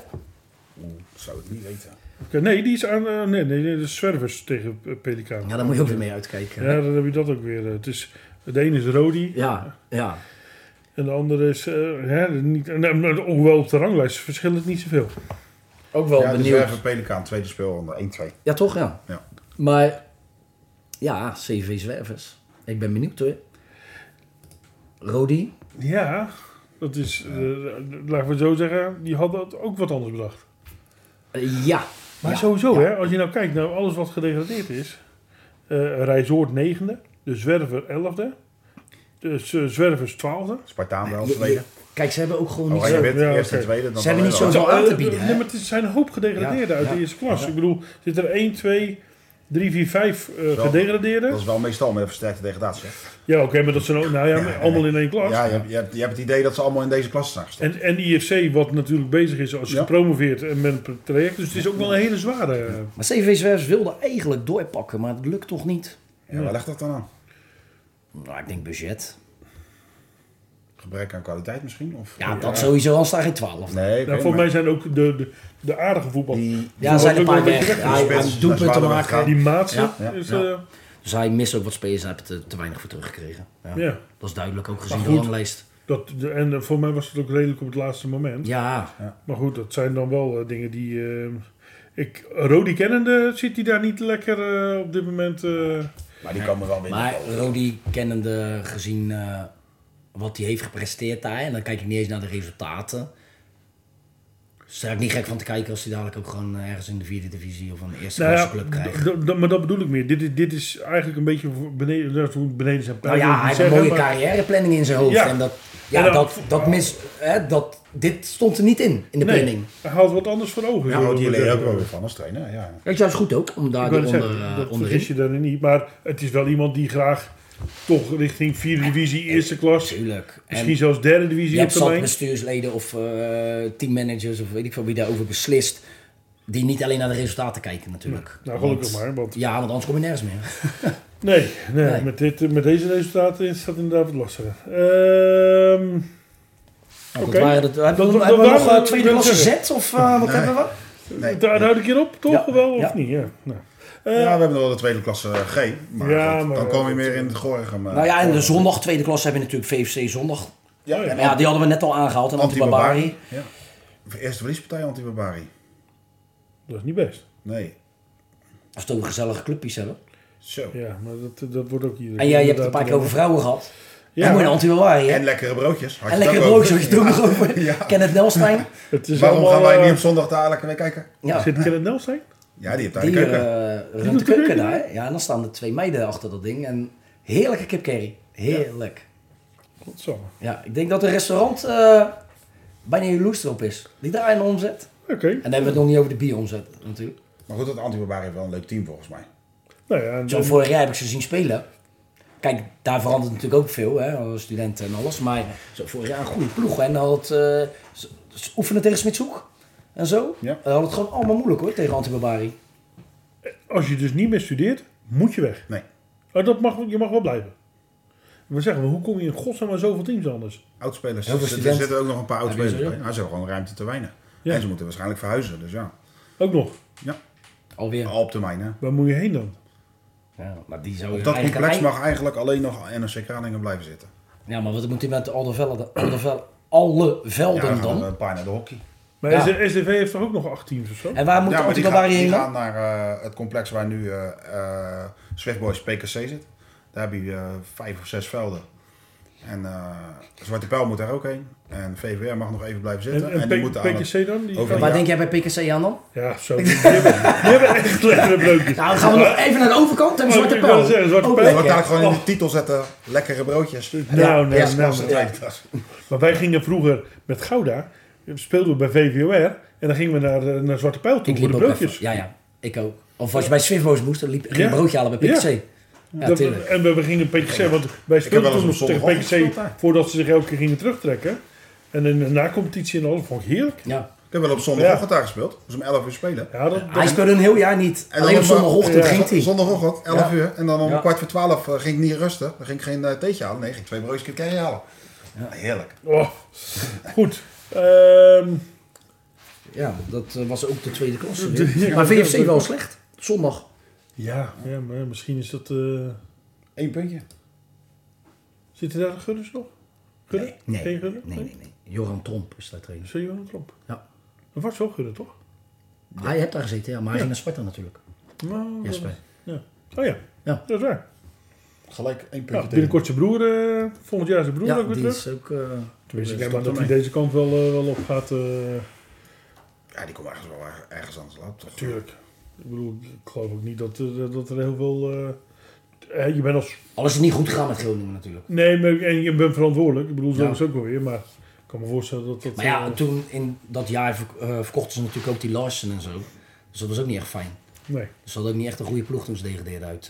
Speaker 4: Zou het niet weten.
Speaker 2: Oké, nee, die is aan... eh, nee, nee, nee, de zwervers tegen eh, Pelikaan.
Speaker 3: Ja, daar moet je ook weer mee uitkijken. Ja,
Speaker 2: Ja, dan heb je dat ook weer. eh, Het is, de ene is Rodi
Speaker 3: ja.
Speaker 2: en de andere is... eh, hè, niet, nee, maar hoewel op de ranglijst verschilt het niet zoveel.
Speaker 3: Ook wel
Speaker 4: Ja, de
Speaker 3: benieuwd.
Speaker 4: zwerver Pelikaan, tweede speelronde, 1-2.
Speaker 3: Ja, toch? Ja.
Speaker 4: Ja.
Speaker 3: Maar ja, CV Zwervers. Ik ben benieuwd hoor. Rodi,
Speaker 2: Ja, dat is... eh, laten we het zo zeggen, die hadden het ook wat anders bedacht.
Speaker 3: Eh, ja.
Speaker 2: Maar
Speaker 3: Ja,
Speaker 2: sowieso,
Speaker 3: ja.
Speaker 2: hè, als je nou kijkt naar alles wat gedegradeerd is. eh Rijzoord negende, de Zwerver elfde, de Z- Zwervers twaalfde.
Speaker 4: Spartaan wel,
Speaker 3: Je- je-
Speaker 4: tweede.
Speaker 3: Kijk, ze hebben ook gewoon niet
Speaker 4: Oranje
Speaker 3: zo...
Speaker 4: wit,
Speaker 2: Ja,
Speaker 4: eerste en
Speaker 2: oké.
Speaker 4: tweede. Dan
Speaker 3: Ze hebben
Speaker 4: dan
Speaker 3: niet
Speaker 4: wel.
Speaker 3: zo- aan te bieden, hè?
Speaker 2: eh, Nee, maar het zijn een hoop gedegradeerden
Speaker 3: Ja,
Speaker 2: uit
Speaker 3: ja.
Speaker 2: de eerste klas. Ik bedoel, zit er 1, 2, 3, 4, 5 eh
Speaker 4: Zo.
Speaker 2: gedegradeerden.
Speaker 4: Dat is wel meestal met een versterkte degradatie. hè?
Speaker 2: Ja, oké, maar dat zijn ook, nou ja, allemaal in één klas.
Speaker 4: Ja, je, hebt- je, hebt, je hebt het idee dat ze allemaal in deze klas zijn gestopt.
Speaker 2: En, en IFC, wat natuurlijk bezig is als
Speaker 4: Ja.
Speaker 2: gepromoveerd en met een traject. Dus het is ook wel een hele zware. eh,
Speaker 3: Maar CV Zwervers wilde eigenlijk doorpakken, maar dat lukt toch niet?
Speaker 4: Ja, waar legt dat dan aan?
Speaker 3: Nou, ik denk budget.
Speaker 4: Gebrek aan kwaliteit misschien? Of?
Speaker 3: Ja, dat sowieso, anders staan geen 12.
Speaker 4: Nee, oké,
Speaker 2: nou, volgens
Speaker 4: maar
Speaker 2: mij zijn ook de, de, de aardige voetbal.
Speaker 4: die,
Speaker 3: Ja, er zijn een paar weg. Ja,
Speaker 4: spits,
Speaker 3: om
Speaker 4: dat is
Speaker 3: doelpunten
Speaker 4: waar
Speaker 3: te
Speaker 4: we
Speaker 3: maken.
Speaker 4: gaan.
Speaker 2: Die maatsen.
Speaker 3: Ja,
Speaker 4: ja,
Speaker 2: is,
Speaker 4: ja.
Speaker 2: eh,
Speaker 3: Dus hij mist ook wat spelers en hij heeft er te weinig voor teruggekregen. Ja.
Speaker 2: ja.
Speaker 3: Dat is duidelijk ook gezien
Speaker 2: Maar
Speaker 3: de
Speaker 2: goed.
Speaker 3: ranglijst.
Speaker 2: Dat, de- en eh, voor mij was het ook redelijk op het laatste moment.
Speaker 3: Ja,
Speaker 2: Maar goed, dat zijn dan wel eh, dingen die. eh, ik, Rodi kennende zit hij daar niet lekker eh, op dit moment. eh,
Speaker 4: maar die komen wel weer.
Speaker 3: maar Rodi kennende gezien eh, wat hij heeft gepresteerd daar. En dan kijk ik niet eens naar de resultaten. Dus daar ben ik niet gek van te kijken als hij dadelijk ook gewoon ergens in de vierde divisie of een eerste
Speaker 2: nou
Speaker 3: klasse
Speaker 2: ja,
Speaker 3: club krijgt.
Speaker 2: d- d- maar dat bedoel ik meer. Dit, is- dit is eigenlijk een beetje voor beneden, nou, voor beneden zijn pijl.
Speaker 3: Nou ja, hij
Speaker 2: wil ik niet
Speaker 3: heeft een mooie
Speaker 2: zeggen, maar-
Speaker 3: carrièreplanning in zijn hoofd.
Speaker 2: Ja.
Speaker 3: En dat, ja,
Speaker 2: En dan-
Speaker 3: dat, dat mis, hè, dat, dit stond er niet in, in de
Speaker 2: Nee,
Speaker 3: planning.
Speaker 2: hij haalt wat anders voor ogen.
Speaker 4: Ja,
Speaker 2: zullen
Speaker 4: oh,
Speaker 2: we
Speaker 4: die
Speaker 2: maar
Speaker 4: leer je ook
Speaker 2: zeggen.
Speaker 4: wel weer van als trainer. Ja.
Speaker 3: Kijk, juist goed ook, om daar
Speaker 2: Ik
Speaker 3: die
Speaker 2: wou net
Speaker 3: onder,
Speaker 2: zeggen,
Speaker 3: eh,
Speaker 2: dat
Speaker 3: onderin.
Speaker 2: vergis je daar niet. Maar het is wel iemand die graag toch richting vierde divisie, eerste klas.
Speaker 3: Tuurlijk. En
Speaker 2: Misschien zelfs derde divisie
Speaker 3: je
Speaker 2: op
Speaker 3: hebt zat
Speaker 2: termijn.
Speaker 3: bestuursleden of eh, teammanagers of weet ik veel wie daarover beslist. Die niet alleen naar de resultaten kijken natuurlijk.
Speaker 2: Nou, gelukkig
Speaker 3: Want-
Speaker 2: maar. Want
Speaker 3: Ja, want anders kom je nergens meer.
Speaker 2: Nee, nee,
Speaker 3: Nee.
Speaker 2: Met, dit, met deze resultaten is dat inderdaad wat lastiger. Ehm
Speaker 3: Nou,
Speaker 2: Oké.
Speaker 3: dat waren dat, hebben
Speaker 2: Dat-
Speaker 3: we,
Speaker 2: dat-
Speaker 3: hebben we
Speaker 2: dat-
Speaker 3: nog eh,
Speaker 2: dat-
Speaker 3: tweede
Speaker 2: dat-
Speaker 3: klasse Z? Of eh, wat hebben we?
Speaker 4: Nee.
Speaker 2: daar houd ik hier op, toch?
Speaker 3: Ja.
Speaker 2: Wel of
Speaker 3: Ja.
Speaker 2: niet? Ja, nou.
Speaker 4: ja, we hebben nog wel de tweede klasse G. Maar,
Speaker 2: Ja,
Speaker 4: goed,
Speaker 2: maar-
Speaker 4: dan komen we meer in het Gorinchem.
Speaker 3: Nou ja, en de zondag, tweede klasse, hebben we natuurlijk VFC zondag.
Speaker 4: ja,
Speaker 2: Oh ja.
Speaker 4: en
Speaker 3: Ja, die hadden we net al aangehaald. En Antibarbari.
Speaker 4: Anti-Barbari. Ja. Eerste verliespartij Anti-Barbari.
Speaker 2: Dat is niet best.
Speaker 4: Nee.
Speaker 3: Als we toch een gezellige clubjes hebben.
Speaker 4: Zo.
Speaker 2: Ja, maar dat, dat wordt ook hier.
Speaker 3: En jij je hebt het een paar keer over vrouwen gehad.
Speaker 2: Ja.
Speaker 3: Ja, dan moet je naar Antibarbari, hè?
Speaker 4: En
Speaker 3: En,
Speaker 4: lekkere broodjes. Had je het
Speaker 3: lekker
Speaker 4: ook
Speaker 3: broodjes, had je het ook nog over.
Speaker 4: Ja.
Speaker 3: Kenneth
Speaker 4: [laughs]
Speaker 3: Nelstein.
Speaker 2: Het is
Speaker 4: Waarom
Speaker 2: allemaal,
Speaker 4: gaan wij
Speaker 2: eh,
Speaker 4: niet op zondag daar lekker weer kijken?
Speaker 3: Ja.
Speaker 2: Zit Kenneth Nels zijn?
Speaker 4: Ja, die hebt daar
Speaker 3: Die
Speaker 4: de keuken.
Speaker 3: eh runt
Speaker 2: doet
Speaker 3: de
Speaker 2: de keuken
Speaker 3: keuken daar. hè? Ja, en dan staan er twee meiden achter dat ding. En heerlijke kipcurry. Heerlijk.
Speaker 2: Godsamme.
Speaker 3: Ja. ik denk dat een restaurant eh bijna jaloers erop is. Die daar een omzet.
Speaker 2: Oké.
Speaker 3: En dan hebben we het nog niet over de bieromzet natuurlijk.
Speaker 4: Maar goed, dat Antibarbaar heeft wel een leuk team volgens mij.
Speaker 2: Nou ja, en-
Speaker 3: Zo vorig jaar heb ik ze zien spelen. Kijk, daar verandert natuurlijk ook veel, hè, als student en alles. Maar zo vorig jaar een goede ploeg. hè. En dan had, eh, ze- ze oefenen tegen Smitshoek en zo.
Speaker 4: Ja.
Speaker 3: En dan had het gewoon allemaal moeilijk hoor, tegen Antibarbari.
Speaker 2: als je dus niet meer studeert, moet je weg.
Speaker 4: Nee,
Speaker 2: Oh, dat mag, je mag wel blijven. We zeggen, maar hoe kom je in godsnaam aan zoveel teams anders?
Speaker 4: oudspelers.
Speaker 3: Heel
Speaker 4: Er
Speaker 3: veel
Speaker 4: zitten- er
Speaker 3: studenten.
Speaker 4: zitten ook nog een paar oudspelers
Speaker 3: Ja, die
Speaker 4: bij.
Speaker 3: zijn er.
Speaker 4: Nou, ze hebben gewoon ruimte te weinig.
Speaker 2: Ja.
Speaker 4: En ze moeten waarschijnlijk verhuizen, dus ja.
Speaker 2: Ook nog.
Speaker 4: ja.
Speaker 3: Alweer.
Speaker 4: Al op termijn, hè.
Speaker 2: Waar moet je heen dan?
Speaker 3: Ja, maar die zou
Speaker 4: Op
Speaker 3: je
Speaker 4: dat
Speaker 3: eigenlijk-
Speaker 4: complex mag eigenlijk alleen nog NRC Kralingen blijven zitten.
Speaker 3: Ja, maar wat moet hij met alle velden, alle velden, alle
Speaker 4: Ja,
Speaker 3: velden
Speaker 4: dan gaan we
Speaker 3: dan?
Speaker 4: een paar naar de hockey.
Speaker 2: Maar
Speaker 3: Ja.
Speaker 2: SD SDV heeft toch ook nog 18 of zo?
Speaker 3: En waar moet
Speaker 4: ja,
Speaker 3: ja,
Speaker 4: want
Speaker 3: de
Speaker 4: die, gaan, die
Speaker 3: heen
Speaker 4: gaan naar eh, het complex waar nu eh eh Swiftboys PKC zit. Daar heb je eh, vijf of zes velden. En eh Zwarte Pijl moet daar ook heen. En VVR mag nog even blijven
Speaker 2: En,
Speaker 4: zitten.
Speaker 2: en,
Speaker 4: die
Speaker 2: P-
Speaker 4: moeten aan het-
Speaker 2: PKC dan? Die
Speaker 4: over-
Speaker 2: gaan-
Speaker 3: Waar
Speaker 4: Ja.
Speaker 3: denk jij bij PKC aan dan?
Speaker 2: Ja, zo. Die hebben, die hebben [laughs] echt lekkere breukjes.
Speaker 3: Nou, dan gaan we nog even naar de overkant en
Speaker 2: Oh,
Speaker 3: Zwarte
Speaker 2: ik wilde
Speaker 3: Pijl.
Speaker 2: zeggen, Zwarte
Speaker 3: Ook
Speaker 2: Pijl.
Speaker 4: Je
Speaker 3: lekker.
Speaker 4: wordt daar gewoon in de titel zetten. Lekkere broodjes.
Speaker 2: Oh. Nou, nee,
Speaker 4: Eerste
Speaker 2: nou,
Speaker 4: klasse,
Speaker 2: maar-
Speaker 4: tweede klasse.
Speaker 2: Maar wij gingen vroeger met Gouda, speelden we bij VVOR en dan gingen we naar, eh, naar Zwarte Pijl toe
Speaker 3: Ik
Speaker 2: voor
Speaker 3: liep
Speaker 2: de
Speaker 3: ook
Speaker 2: broodjes.
Speaker 3: even. Ja, ja. Ik ook. Of als je bij Swiftboys moest, dan liep, ging je
Speaker 2: Ja.
Speaker 3: broodje halen bij PKC. Ja,
Speaker 2: Dat-
Speaker 3: tuurlijk.
Speaker 2: en we, we gingen PKC, want wij
Speaker 4: heb wel
Speaker 2: speelden
Speaker 4: eens
Speaker 2: toen nog
Speaker 4: op
Speaker 2: tegen
Speaker 4: zondagochtend
Speaker 2: PKC
Speaker 4: gespeeld daar.
Speaker 2: voordat ze zich elke keer gingen terugtrekken. En in de na-competitie en alles vond ik heerlijk.
Speaker 3: Ja.
Speaker 4: Ik heb wel op zondagochtend daar gespeeld. Dus om 11 uur spelen.
Speaker 2: Ja, dat, dat-
Speaker 3: Hij speelde een heel jaar niet. Alleen op
Speaker 4: om, eh,
Speaker 3: zondagochtend
Speaker 4: ja,
Speaker 3: ging hij.
Speaker 4: Zondagochtend, 11
Speaker 3: Ja.
Speaker 4: uur. En dan om
Speaker 3: Ja.
Speaker 4: kwart voor 12 eh, ging ik niet rusten. Dan ging ik geen eh, theetje halen. Nee, ging ik twee broodjes curry halen. Heerlijk.
Speaker 2: oh, goed. Ehm,
Speaker 3: Ja, dat eh, was ook de tweede klasse.
Speaker 2: De-
Speaker 3: weer.
Speaker 2: ja.
Speaker 3: Maar VFC wel slecht. Zondag.
Speaker 2: ja, ja, maar misschien is dat... eh,
Speaker 4: Eén puntje.
Speaker 2: zitten daar de gunners nog? Gunnen?
Speaker 3: Nee,
Speaker 2: Geen
Speaker 3: nee,
Speaker 2: gunnen?
Speaker 3: nee. nee, nee. Joran Tromp is daar trainer.
Speaker 2: Zo Johan Tromp.
Speaker 3: Ja.
Speaker 2: Dat was wel gunnen, toch?
Speaker 3: Hij heeft daar gezeten, ja, maar hij ging naar Sparta natuurlijk.
Speaker 2: Nou, dat-
Speaker 3: Jesper.
Speaker 2: ja. Oh ja.
Speaker 3: Ja.
Speaker 2: dat is waar.
Speaker 4: Gelijk één puntje.
Speaker 2: Ja,
Speaker 4: tegen.
Speaker 2: binnenkort zijn broer, eh, volgend jaar zijn broer
Speaker 3: Ja,
Speaker 2: ook weer
Speaker 3: die
Speaker 2: terug.
Speaker 3: is ook... eh,
Speaker 2: Tenminste, ik denk maar
Speaker 4: Dus dat
Speaker 2: dat hij
Speaker 4: ermee.
Speaker 2: deze kant wel, eh, wel op gaat. eh,
Speaker 4: Ja, die komt ergens wel erg- ergens anders laat. toch?
Speaker 2: tuurlijk. Ik bedoel, ik geloof ook niet dat, eh, dat er heel veel... eh, eh, je bent als...
Speaker 3: Alles is niet goed gegaan met Groningen natuurlijk.
Speaker 2: Nee, maar, en je bent verantwoordelijk. Ik bedoel, zo
Speaker 3: Ja.
Speaker 2: is het ook wel weer. Maar ik kan me voorstellen dat dat...
Speaker 3: Maar ja,
Speaker 2: eh,
Speaker 3: toen in dat jaar verk- eh, verkochten ze natuurlijk ook die Larsen en zo. Dus dat was ook niet echt fijn.
Speaker 2: nee.
Speaker 3: Dus ze hadden ook niet echt een goede ploeg toen ze degradeerden uit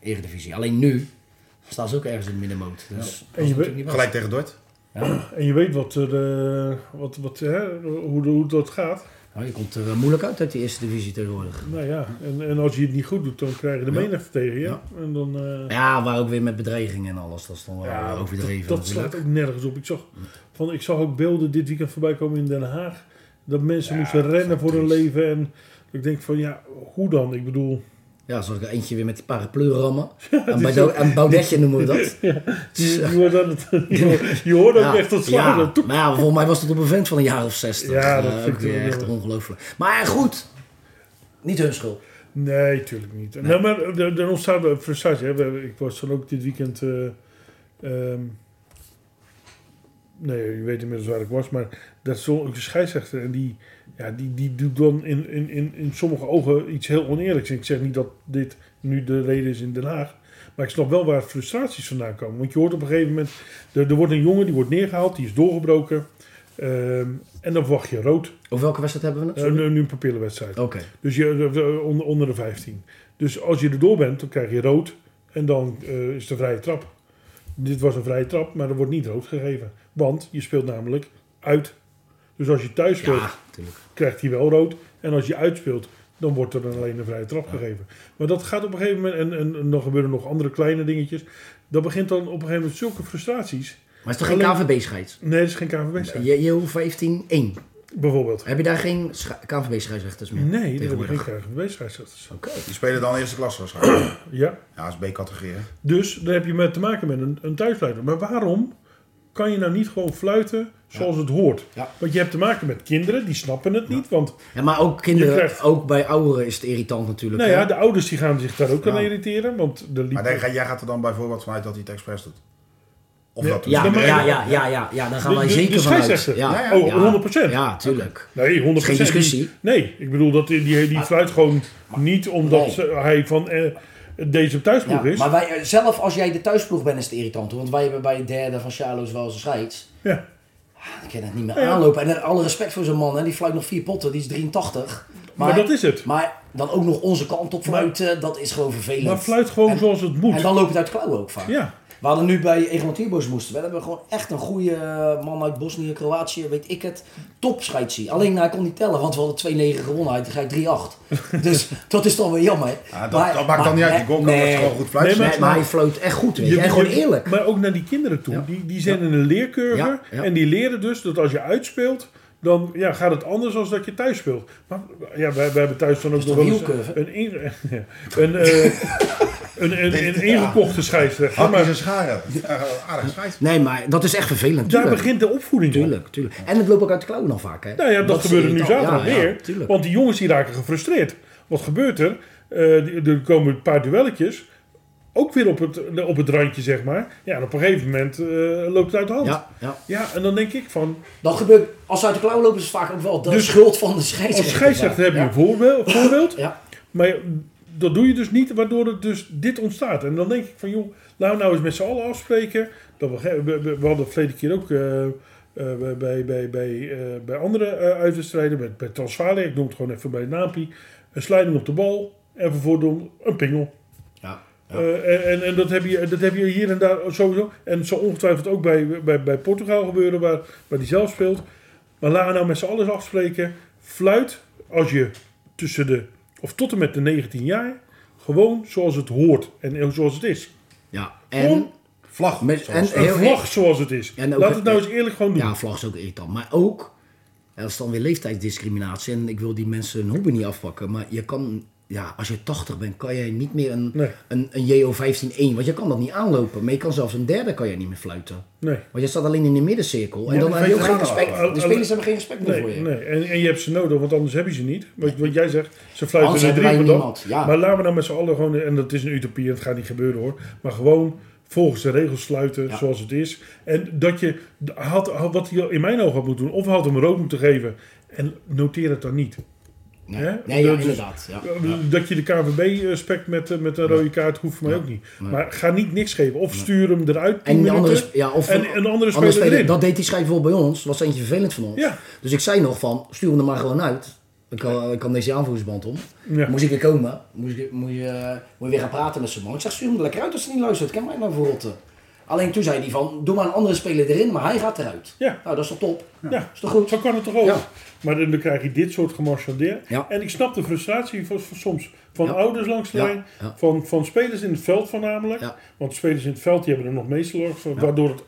Speaker 3: eh Eredivisie. Alleen nu staan ze ook ergens in de middenmoot. Dus dat
Speaker 2: En
Speaker 3: is
Speaker 2: je
Speaker 3: natuurlijk niet best.
Speaker 4: Gelijk tegen Dort.
Speaker 3: Ja.
Speaker 2: En je weet wat, er, eh, wat, wat, hè, hoe, de- hoe dat gaat.
Speaker 3: Nou, je komt er eh, moeilijk uit uit die eerste divisie tegenwoordig.
Speaker 2: Nou ja, en, en als je het niet goed doet, dan krijgen de
Speaker 3: Ja.
Speaker 2: menigte tegen je.
Speaker 3: Ja.
Speaker 2: En dan... eh,
Speaker 3: Ja, waar ook weer met bedreigingen en alles. Dat is dan wel
Speaker 2: Ja,
Speaker 3: eh, overdreven
Speaker 2: Dat
Speaker 3: natuurlijk.
Speaker 2: slaat ook nergens op. Ik zag, van, ik zag ook beelden dit weekend voorbij komen in Den Haag. Dat mensen
Speaker 4: Ja,
Speaker 2: moesten
Speaker 4: dat is
Speaker 2: rennen voor hun
Speaker 4: triest.
Speaker 2: leven. En ik denk van ja, hoe dan? Ik bedoel,
Speaker 3: Ja, zoals ik er eentje weer met die paraplu
Speaker 2: [laughs]
Speaker 3: rammen. en, bij en Baudetje noemen we dat. [laughs]
Speaker 2: je, je hoort, dat het, je hoort ook echt dat slaan.
Speaker 3: ja.
Speaker 2: Dat toek-
Speaker 3: Maar ja, volgens mij was dat op een vent van een jaar of 60.
Speaker 2: Ja, dat
Speaker 3: Eh,
Speaker 2: vind
Speaker 3: ook
Speaker 2: ik wel
Speaker 3: weer echt
Speaker 2: wel.
Speaker 3: ongelooflijk. Maar goed, niet hun schuld.
Speaker 2: Nee, tuurlijk niet. Nou, maar er, er ontstaat wel frustratie. Hè. We- Ik was dan ook dit weekend. eh, ehm, nee, je weet inmiddels waar ik was, maar dat is zo'n scheidsrechter. En die, ja, die, die doet dan in, in, in, in sommige ogen iets heel oneerlijks. En ik zeg niet dat dit nu de reden is in Den Haag. Maar ik snap wel waar frustraties vandaan komen. Want je hoort op een gegeven moment. Er, er wordt een jongen die wordt neergehaald, die is doorgebroken. Ehm, en dan wacht je rood.
Speaker 3: Over welke wedstrijd hebben we het?
Speaker 2: Eh, nu, nu een papierenwedstrijd.
Speaker 3: Oké.
Speaker 2: Dus je, eh, onder, onder de 15. Dus als je erdoor bent, dan krijg je rood. En dan eh, is de vrije trap. Dit was een vrije trap, maar er wordt niet rood gegeven. Want je speelt namelijk uit. Dus als je thuis speelt,
Speaker 3: Ja, natuurlijk.
Speaker 2: krijgt hij wel rood. En als je uitspeelt, dan wordt er dan alleen een vrije trap gegeven. Maar dat gaat op een gegeven moment, en, en, en dan gebeuren nog andere kleine dingetjes. Dat begint dan op een gegeven moment zulke frustraties.
Speaker 3: Maar het is toch geen KVB-scheids?
Speaker 2: Nee, dat is geen KVB-scheids,
Speaker 3: JO 15-1.
Speaker 2: bijvoorbeeld.
Speaker 3: Heb je daar geen KVB-scheidsrechters meer?
Speaker 2: Nee, dat hebben
Speaker 3: tegenwoordig.
Speaker 2: geen KVB-scheidsrechters.
Speaker 3: Oké.
Speaker 4: Die spelen dan eerste klasse waarschijnlijk.
Speaker 2: [clears throat] Ja,
Speaker 4: Ja, dat is B-categorie. hè.
Speaker 2: Dus daar heb je met te maken met een, een thuisleider. Maar waarom kan je nou niet gewoon fluiten zoals het hoort?
Speaker 3: Ja.
Speaker 2: Want je hebt te maken met kinderen, die snappen het niet. Want
Speaker 3: Ja, maar ook kinderen,
Speaker 2: Je krijgt-
Speaker 3: ook bij ouderen is het irritant natuurlijk.
Speaker 2: nou
Speaker 3: hè?
Speaker 2: ja, de ouders die gaan zich daar ook aan
Speaker 4: Ja.
Speaker 2: irriteren. Want de
Speaker 4: Maar
Speaker 2: liep...
Speaker 4: daar ga- jij gaat er dan bijvoorbeeld vanuit dat hij het expres doet. Of
Speaker 2: Ja.
Speaker 4: dat
Speaker 3: ja,
Speaker 2: de-
Speaker 3: ja,
Speaker 2: maar-
Speaker 3: ja, ja, ja, ja, daar gaan
Speaker 2: De-
Speaker 3: wij
Speaker 2: de- de
Speaker 3: zeker vanuit.
Speaker 2: scheidsrechter.
Speaker 3: Ja,
Speaker 4: Ja,
Speaker 2: Oh,
Speaker 3: ja.
Speaker 2: 100%.
Speaker 3: Ja, tuurlijk.
Speaker 2: Nee, 100%.
Speaker 3: Geen discussie.
Speaker 2: Die- Nee, ik bedoel, dat, die, die, die fluit gewoon niet omdat
Speaker 3: Nee.
Speaker 2: ze- hij van eh, deze thuisploeg
Speaker 3: Ja,
Speaker 2: is.
Speaker 3: maar wij, eh, zelf als jij de thuisploeg bent is het irritant. hoor. Want wij hebben bij de derde van Charlo's wel eens een scheids.
Speaker 2: Ja.
Speaker 3: Ik kan het niet meer
Speaker 2: Ja.
Speaker 3: aanlopen. En alle respect voor zo'n man. Hè. Die fluit nog vier potten. Die is 83.
Speaker 2: Maar dat is het.
Speaker 3: Maar dan ook nog onze kant op fluiten. Dat is gewoon vervelend.
Speaker 2: Maar fluit gewoon
Speaker 3: En-
Speaker 2: zoals het
Speaker 3: En
Speaker 2: moet.
Speaker 3: dan loopt het uit de klauwen ook vaak.
Speaker 2: Ja.
Speaker 3: We hadden nu bij Egmont Tierboos moesten. We hebben gewoon echt een goede eh, man uit Bosnië, Kroatië, weet ik het. Top scheidsie. Alleen nou, hij kon niet tellen, want we hadden 2-9 gewonnen. Hij gaat
Speaker 2: [laughs]
Speaker 3: 3-8. dus dat is dan weer jammer.
Speaker 4: Ja, Ah, dat, dat maakt dan niet uit. Die goal kan
Speaker 3: nee,
Speaker 4: het gewoon goed fluiten.
Speaker 2: Nee,
Speaker 3: Nee, maar hij floot echt goed. Weet je.
Speaker 2: Je-
Speaker 3: en gewoon
Speaker 2: je-
Speaker 3: eerlijk.
Speaker 2: Maar ook naar die kinderen toe.
Speaker 3: Ja.
Speaker 2: Die, die zijn in een leercurve.
Speaker 3: Ja, ja.
Speaker 2: En die leren dus dat als je uitspeelt, dan ja, gaat het anders dan dat je thuis speelt. Maar ja, wij, wij hebben thuis dan ook
Speaker 3: is
Speaker 2: nog [laughs]
Speaker 3: toch
Speaker 2: wel eens
Speaker 3: wielcurve? [laughs]
Speaker 2: een, in- ja, een, eh, Een, een, een ingekochte scheidsrechter.
Speaker 4: Hakjes
Speaker 2: Maar
Speaker 4: en scharen. [laughs] Eh, aardig scheids.
Speaker 3: Nee, maar dat is echt vervelend.
Speaker 2: daar
Speaker 3: tuurlijk.
Speaker 2: begint de opvoeding van.
Speaker 3: Tuurlijk, tuurlijk. En het loopt ook uit de klauwen al vaak. Hè?
Speaker 2: Nou ja, dat,
Speaker 3: Dat
Speaker 2: gebeurde
Speaker 3: zie ik
Speaker 2: nu
Speaker 3: al. Ja,
Speaker 2: zaterdag
Speaker 3: ja,
Speaker 2: weer.
Speaker 3: tuurlijk.
Speaker 2: want die jongens die raken gefrustreerd. Wat gebeurt er? Eh, die- er komen een paar duelletjes. Ook weer op het, op het randje, zeg maar. Ja, en op een gegeven moment eh, loopt het uit de hand.
Speaker 3: Ja, ja.
Speaker 2: Ja, en dan denk ik van...
Speaker 3: Dat gebeurt, als ze uit de klauwen lopen, is het vaak ook wel de
Speaker 2: Dus
Speaker 3: schuld van de
Speaker 2: Als
Speaker 3: scheidsrechter.
Speaker 2: scheidsrechter heb je een
Speaker 3: Ja.
Speaker 2: voorbeeld, voorbeeld
Speaker 3: Ja.
Speaker 2: maar dat doe je dus niet, waardoor het dus dit ontstaat. En dan denk ik van, joh, laten we nou eens met z'n allen afspreken. Dat we, we, we- we hadden het verleden keer ook eh, eh, bij, bij, bij, eh, bij andere eh uitwedstrijden, bij, bij Transvaal, ik noem het gewoon even bij Napi, een slijding op de bal en vervolgens een pingel.
Speaker 3: Ja.
Speaker 2: Eh, en en, en dat, heb je, dat heb je hier en daar sowieso. En het zal ongetwijfeld ook bij, bij, bij Portugal gebeuren, waar, waar die zelf speelt. Maar laten we nou met z'n allen eens afspreken. Fluit als je tussen de, of tot en met de 19 jaar, gewoon zoals het hoort en zoals het is.
Speaker 3: ja.
Speaker 2: Gewoon
Speaker 3: En,
Speaker 4: Vlag.
Speaker 3: Met-
Speaker 4: zoals-
Speaker 2: een
Speaker 3: Heel-
Speaker 2: vlag zoals het is.
Speaker 3: En ook
Speaker 2: Laat
Speaker 3: het-
Speaker 2: het nou eens eerlijk gewoon doen.
Speaker 3: ja, vlag is ook irritant. Maar ook, dat is dan weer leeftijdsdiscriminatie. En ik wil die mensen hun hobby niet afpakken. Maar je kan, ja, als je 80 bent, kan jij niet meer een,
Speaker 2: Nee.
Speaker 3: een, een JO 15-1. Want je kan dat niet aanlopen. Maar je kan zelfs een derde kan je niet meer fluiten.
Speaker 2: Nee.
Speaker 3: Want je staat alleen in de middencirkel. En
Speaker 4: Ja,
Speaker 3: dan
Speaker 4: die
Speaker 3: heb je ook geen
Speaker 4: veteranen
Speaker 3: respect.
Speaker 4: al-
Speaker 2: al-
Speaker 3: De spelers hebben geen respect meer
Speaker 2: oh, Nee,
Speaker 3: voor je.
Speaker 2: nee. En, en je hebt ze nodig, want anders heb je ze niet. Wat, wat jij zegt, ze fluiten
Speaker 3: Anders
Speaker 2: er drie
Speaker 3: hebben
Speaker 2: per
Speaker 3: wij
Speaker 2: dag.
Speaker 3: niemand, ja.
Speaker 2: Maar laten we nou met z'n allen gewoon, en dat is een utopie, dat gaat niet gebeuren hoor. Maar gewoon volgens de regels sluiten
Speaker 3: Ja.
Speaker 2: zoals het is. En dat je, had, had, wat hij in mijn ogen had moeten doen, of hij had hem rood moeten geven. En noteer het dan niet.
Speaker 3: Nee,
Speaker 2: Hè?
Speaker 3: nee ja,
Speaker 2: Dat is- eh,
Speaker 3: inderdaad. Ja.
Speaker 2: Dat je de KVB spekt met, eh, met een rode kaart, hoeft voor mij ook niet. Maar ga niet niks geven. Of stuur hem eruit.
Speaker 3: En die
Speaker 2: tien
Speaker 3: andere,
Speaker 2: minuten,
Speaker 3: sp- ja, of
Speaker 2: en een andere speler erin.
Speaker 3: Dat deed die schijf bij ons. was eentje vervelend van ons.
Speaker 2: Ja.
Speaker 3: Dus ik zei nog van, stuur hem er maar gewoon uit. Ik kan, ik kan deze aanvoersband om.
Speaker 2: Ja.
Speaker 3: Moest ik weer komen. Moest, ik, moet, je, eh, moet je weer gaan praten met zo'n man. Ik zeg, stuur hem er lekker uit als ze niet luistert. Ken mij nou voor rotten. Alleen toen zei hij van, doe maar een andere speler erin, maar hij gaat eruit.
Speaker 2: Ja.
Speaker 3: Nou, dat is toch top.
Speaker 2: Ja,
Speaker 3: Is toch goed?
Speaker 2: zo kan het toch ook.
Speaker 3: Ja.
Speaker 2: Maar dan, dan krijg je dit soort gemarchandeer.
Speaker 3: Ja.
Speaker 2: En ik snap de frustratie van, van soms van
Speaker 3: Ja.
Speaker 2: ouders langs de
Speaker 3: Ja.
Speaker 2: lijn,
Speaker 3: Ja.
Speaker 2: Van, van spelers in het veld voornamelijk.
Speaker 3: Ja.
Speaker 2: Want spelers in het veld die hebben er nog meestal last van, waardoor het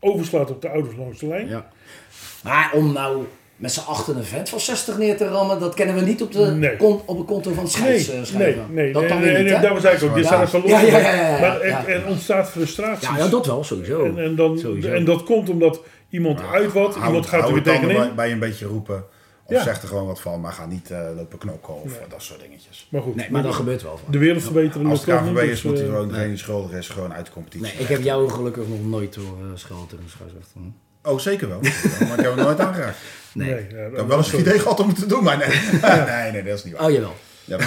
Speaker 2: overslaat op de ouders langs de lijn.
Speaker 3: Ja. Maar om nou met z'n achter een vent van 60 neer te rammen, dat kennen we niet op, de,
Speaker 2: Nee.
Speaker 3: kon- op het konto van het
Speaker 2: Nee,
Speaker 3: scheids, eh,
Speaker 2: nee,
Speaker 3: schrijven.
Speaker 2: nee.
Speaker 3: Dat
Speaker 2: en,
Speaker 3: kan weer
Speaker 2: en-
Speaker 3: niet,
Speaker 2: en
Speaker 3: hè?
Speaker 2: daarom zei ik ook, dit
Speaker 3: Ja.
Speaker 2: staat er van los.
Speaker 3: Ja, ja, ja, ja, ja,
Speaker 2: maar er,
Speaker 3: ja.
Speaker 2: er ontstaat frustratie.
Speaker 3: Ja, ja, dat wel, sowieso.
Speaker 2: en, en, dan,
Speaker 3: Sowieso. Nou,
Speaker 2: en dat komt omdat iemand uit wat,
Speaker 4: Hou
Speaker 2: iemand
Speaker 4: het-
Speaker 2: gaat er
Speaker 4: hou
Speaker 2: weer
Speaker 4: het tanden
Speaker 2: tegenin.
Speaker 4: Bij, bij een beetje roepen. Of
Speaker 2: Ja.
Speaker 4: zeg er gewoon wat van, maar ga niet eh, lopen knokken of eh, dat soort dingeters.
Speaker 2: Maar goed,
Speaker 3: Nee, maar dat gebeurt wel. vaak.
Speaker 2: de wereld verbeteren.
Speaker 4: Als
Speaker 2: dat
Speaker 4: het
Speaker 2: kan
Speaker 4: KVB
Speaker 2: niet,
Speaker 4: is,
Speaker 2: dus,
Speaker 4: moet hij
Speaker 2: eh,
Speaker 4: gewoon degene die schuldig is, gewoon uit de competitie.
Speaker 3: Nee, ik heb jou gelukkig nog nooit door uh, schelden en scheidsrechter.
Speaker 4: Oh, zeker wel. [laughs] maar ik heb hem nooit aangeraakt.
Speaker 3: Nee.
Speaker 2: nee, ja,
Speaker 4: Ik heb wel eens het idee gehad om het te doen,
Speaker 2: [laughs]
Speaker 4: maar nee. nee, nee, dat is niet waar.
Speaker 3: Oh, jawel.
Speaker 4: Ja.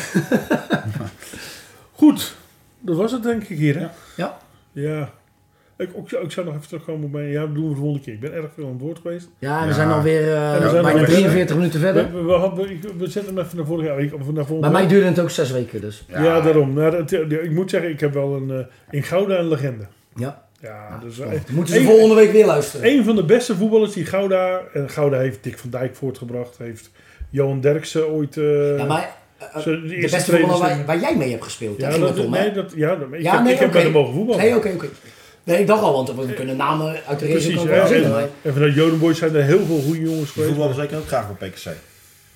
Speaker 2: Goed, dat was het denk ik hier. Hè?
Speaker 3: Ja,
Speaker 2: Ja. Ik, ik, zou- ik zou nog even terugkomen op mijn... Ja, dat doen we de volgende keer. Ik ben erg veel aan het woord geweest.
Speaker 3: ja we
Speaker 4: Ja.
Speaker 3: zijn alweer eh,
Speaker 2: we zijn
Speaker 3: bijna
Speaker 2: alweer-
Speaker 3: 43 minuten
Speaker 2: We,
Speaker 3: verder.
Speaker 2: we, we hadden- ik- we zetten hem even naar vorige week. Of naar volgende
Speaker 3: Bij mij
Speaker 2: week.
Speaker 3: duurde het ook zes weken dus.
Speaker 2: Ja, daarom. Nou, dat- ja, ik moet zeggen, ik heb wel een, eh, in Gouda een legende.
Speaker 3: Ja.
Speaker 2: Ja, dus...
Speaker 3: Dan moeten ze
Speaker 2: Eén-
Speaker 3: volgende week weer luisteren.
Speaker 2: Een van de beste voetballers die Gouda... En Gouda heeft Dick van Dijk voortgebracht. Heeft Johan Derksen ooit... eh,
Speaker 3: Ja, maar eh, eh,
Speaker 2: zo de
Speaker 3: de
Speaker 2: eerste
Speaker 3: beste
Speaker 2: trainers
Speaker 3: voetballer waar,
Speaker 2: en-
Speaker 3: waar jij mee hebt gespeeld,
Speaker 2: ja,
Speaker 3: daar ging
Speaker 2: dat,
Speaker 3: het om, hè?
Speaker 2: nee, dat, ja, dat- ik
Speaker 3: Ja,
Speaker 2: heb,
Speaker 3: nee,
Speaker 2: ik heb
Speaker 3: oké.
Speaker 2: met hem mogen voetballen.
Speaker 3: Nee, oké, oké. Nee, ik dacht al, want we kunnen namen uit de regio
Speaker 2: Precies.
Speaker 3: komen
Speaker 2: hè.
Speaker 3: wel zitten,
Speaker 2: en,
Speaker 3: maar-
Speaker 2: en vanuit Jodenboys zijn er heel veel goede jongens
Speaker 4: Die
Speaker 2: geweest.
Speaker 4: voetballen zeker ook graag bij PKC.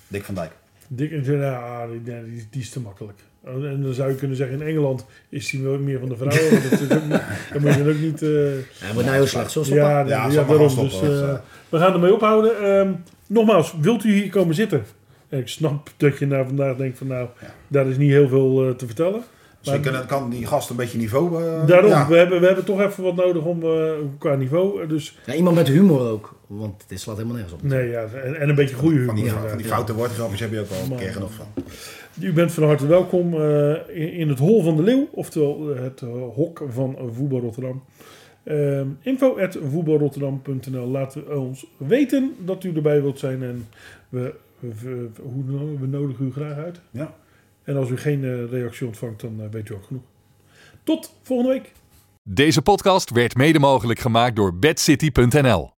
Speaker 4: Dick van Dijk.
Speaker 2: Dick en ja, die, die- die, die is te makkelijk. Oh, En dan zou je kunnen zeggen, in Engeland is hij wel meer van de vrouwen. maar dat is ook niet,
Speaker 4: [laughs]
Speaker 2: dan moet je dan ook niet... eh,
Speaker 3: Hij wordt nou heel slecht, zo stoppen.
Speaker 2: ja,
Speaker 4: Ja,
Speaker 2: ja,
Speaker 4: zal maar
Speaker 2: daarom.
Speaker 4: gaan
Speaker 2: dus,
Speaker 4: stoppen,
Speaker 2: eh,
Speaker 4: dat, eh.
Speaker 2: we gaan ermee ophouden. Ehm, nogmaals, wilt u hier komen zitten? Ik snap dat je na vandaag denkt van nou,
Speaker 4: Ja.
Speaker 2: daar is niet heel veel eh, te vertellen.
Speaker 4: Dus ik kan, kan die gast een beetje niveau... eh,
Speaker 2: Daarom,
Speaker 4: ja.
Speaker 2: we, hebben, we hebben toch even wat nodig om eh, qua niveau. Eh, Dus
Speaker 3: Ja, iemand met humor ook, want dit slaat helemaal nergens op.
Speaker 2: nee, ja, en, en een beetje goede humor.
Speaker 4: Van die,
Speaker 2: inderdaad.
Speaker 4: van die foute woordgrapjes heb je ook al een keer genoeg van.
Speaker 2: U bent van harte welkom eh, in, in het Hol van de Leeuw, oftewel het eh, hok van Voetbal Rotterdam. Ehm info at voetbalrotterdam.nl. Laat ons weten dat u erbij wilt zijn en we, we- we- hoe, noemen we we nodigen u graag uit.
Speaker 4: Ja.
Speaker 2: En als u geen eh, reactie ontvangt, dan eh, weet u ook genoeg. Tot volgende week!
Speaker 1: Deze podcast werd mede mogelijk gemaakt door bedcity.nl.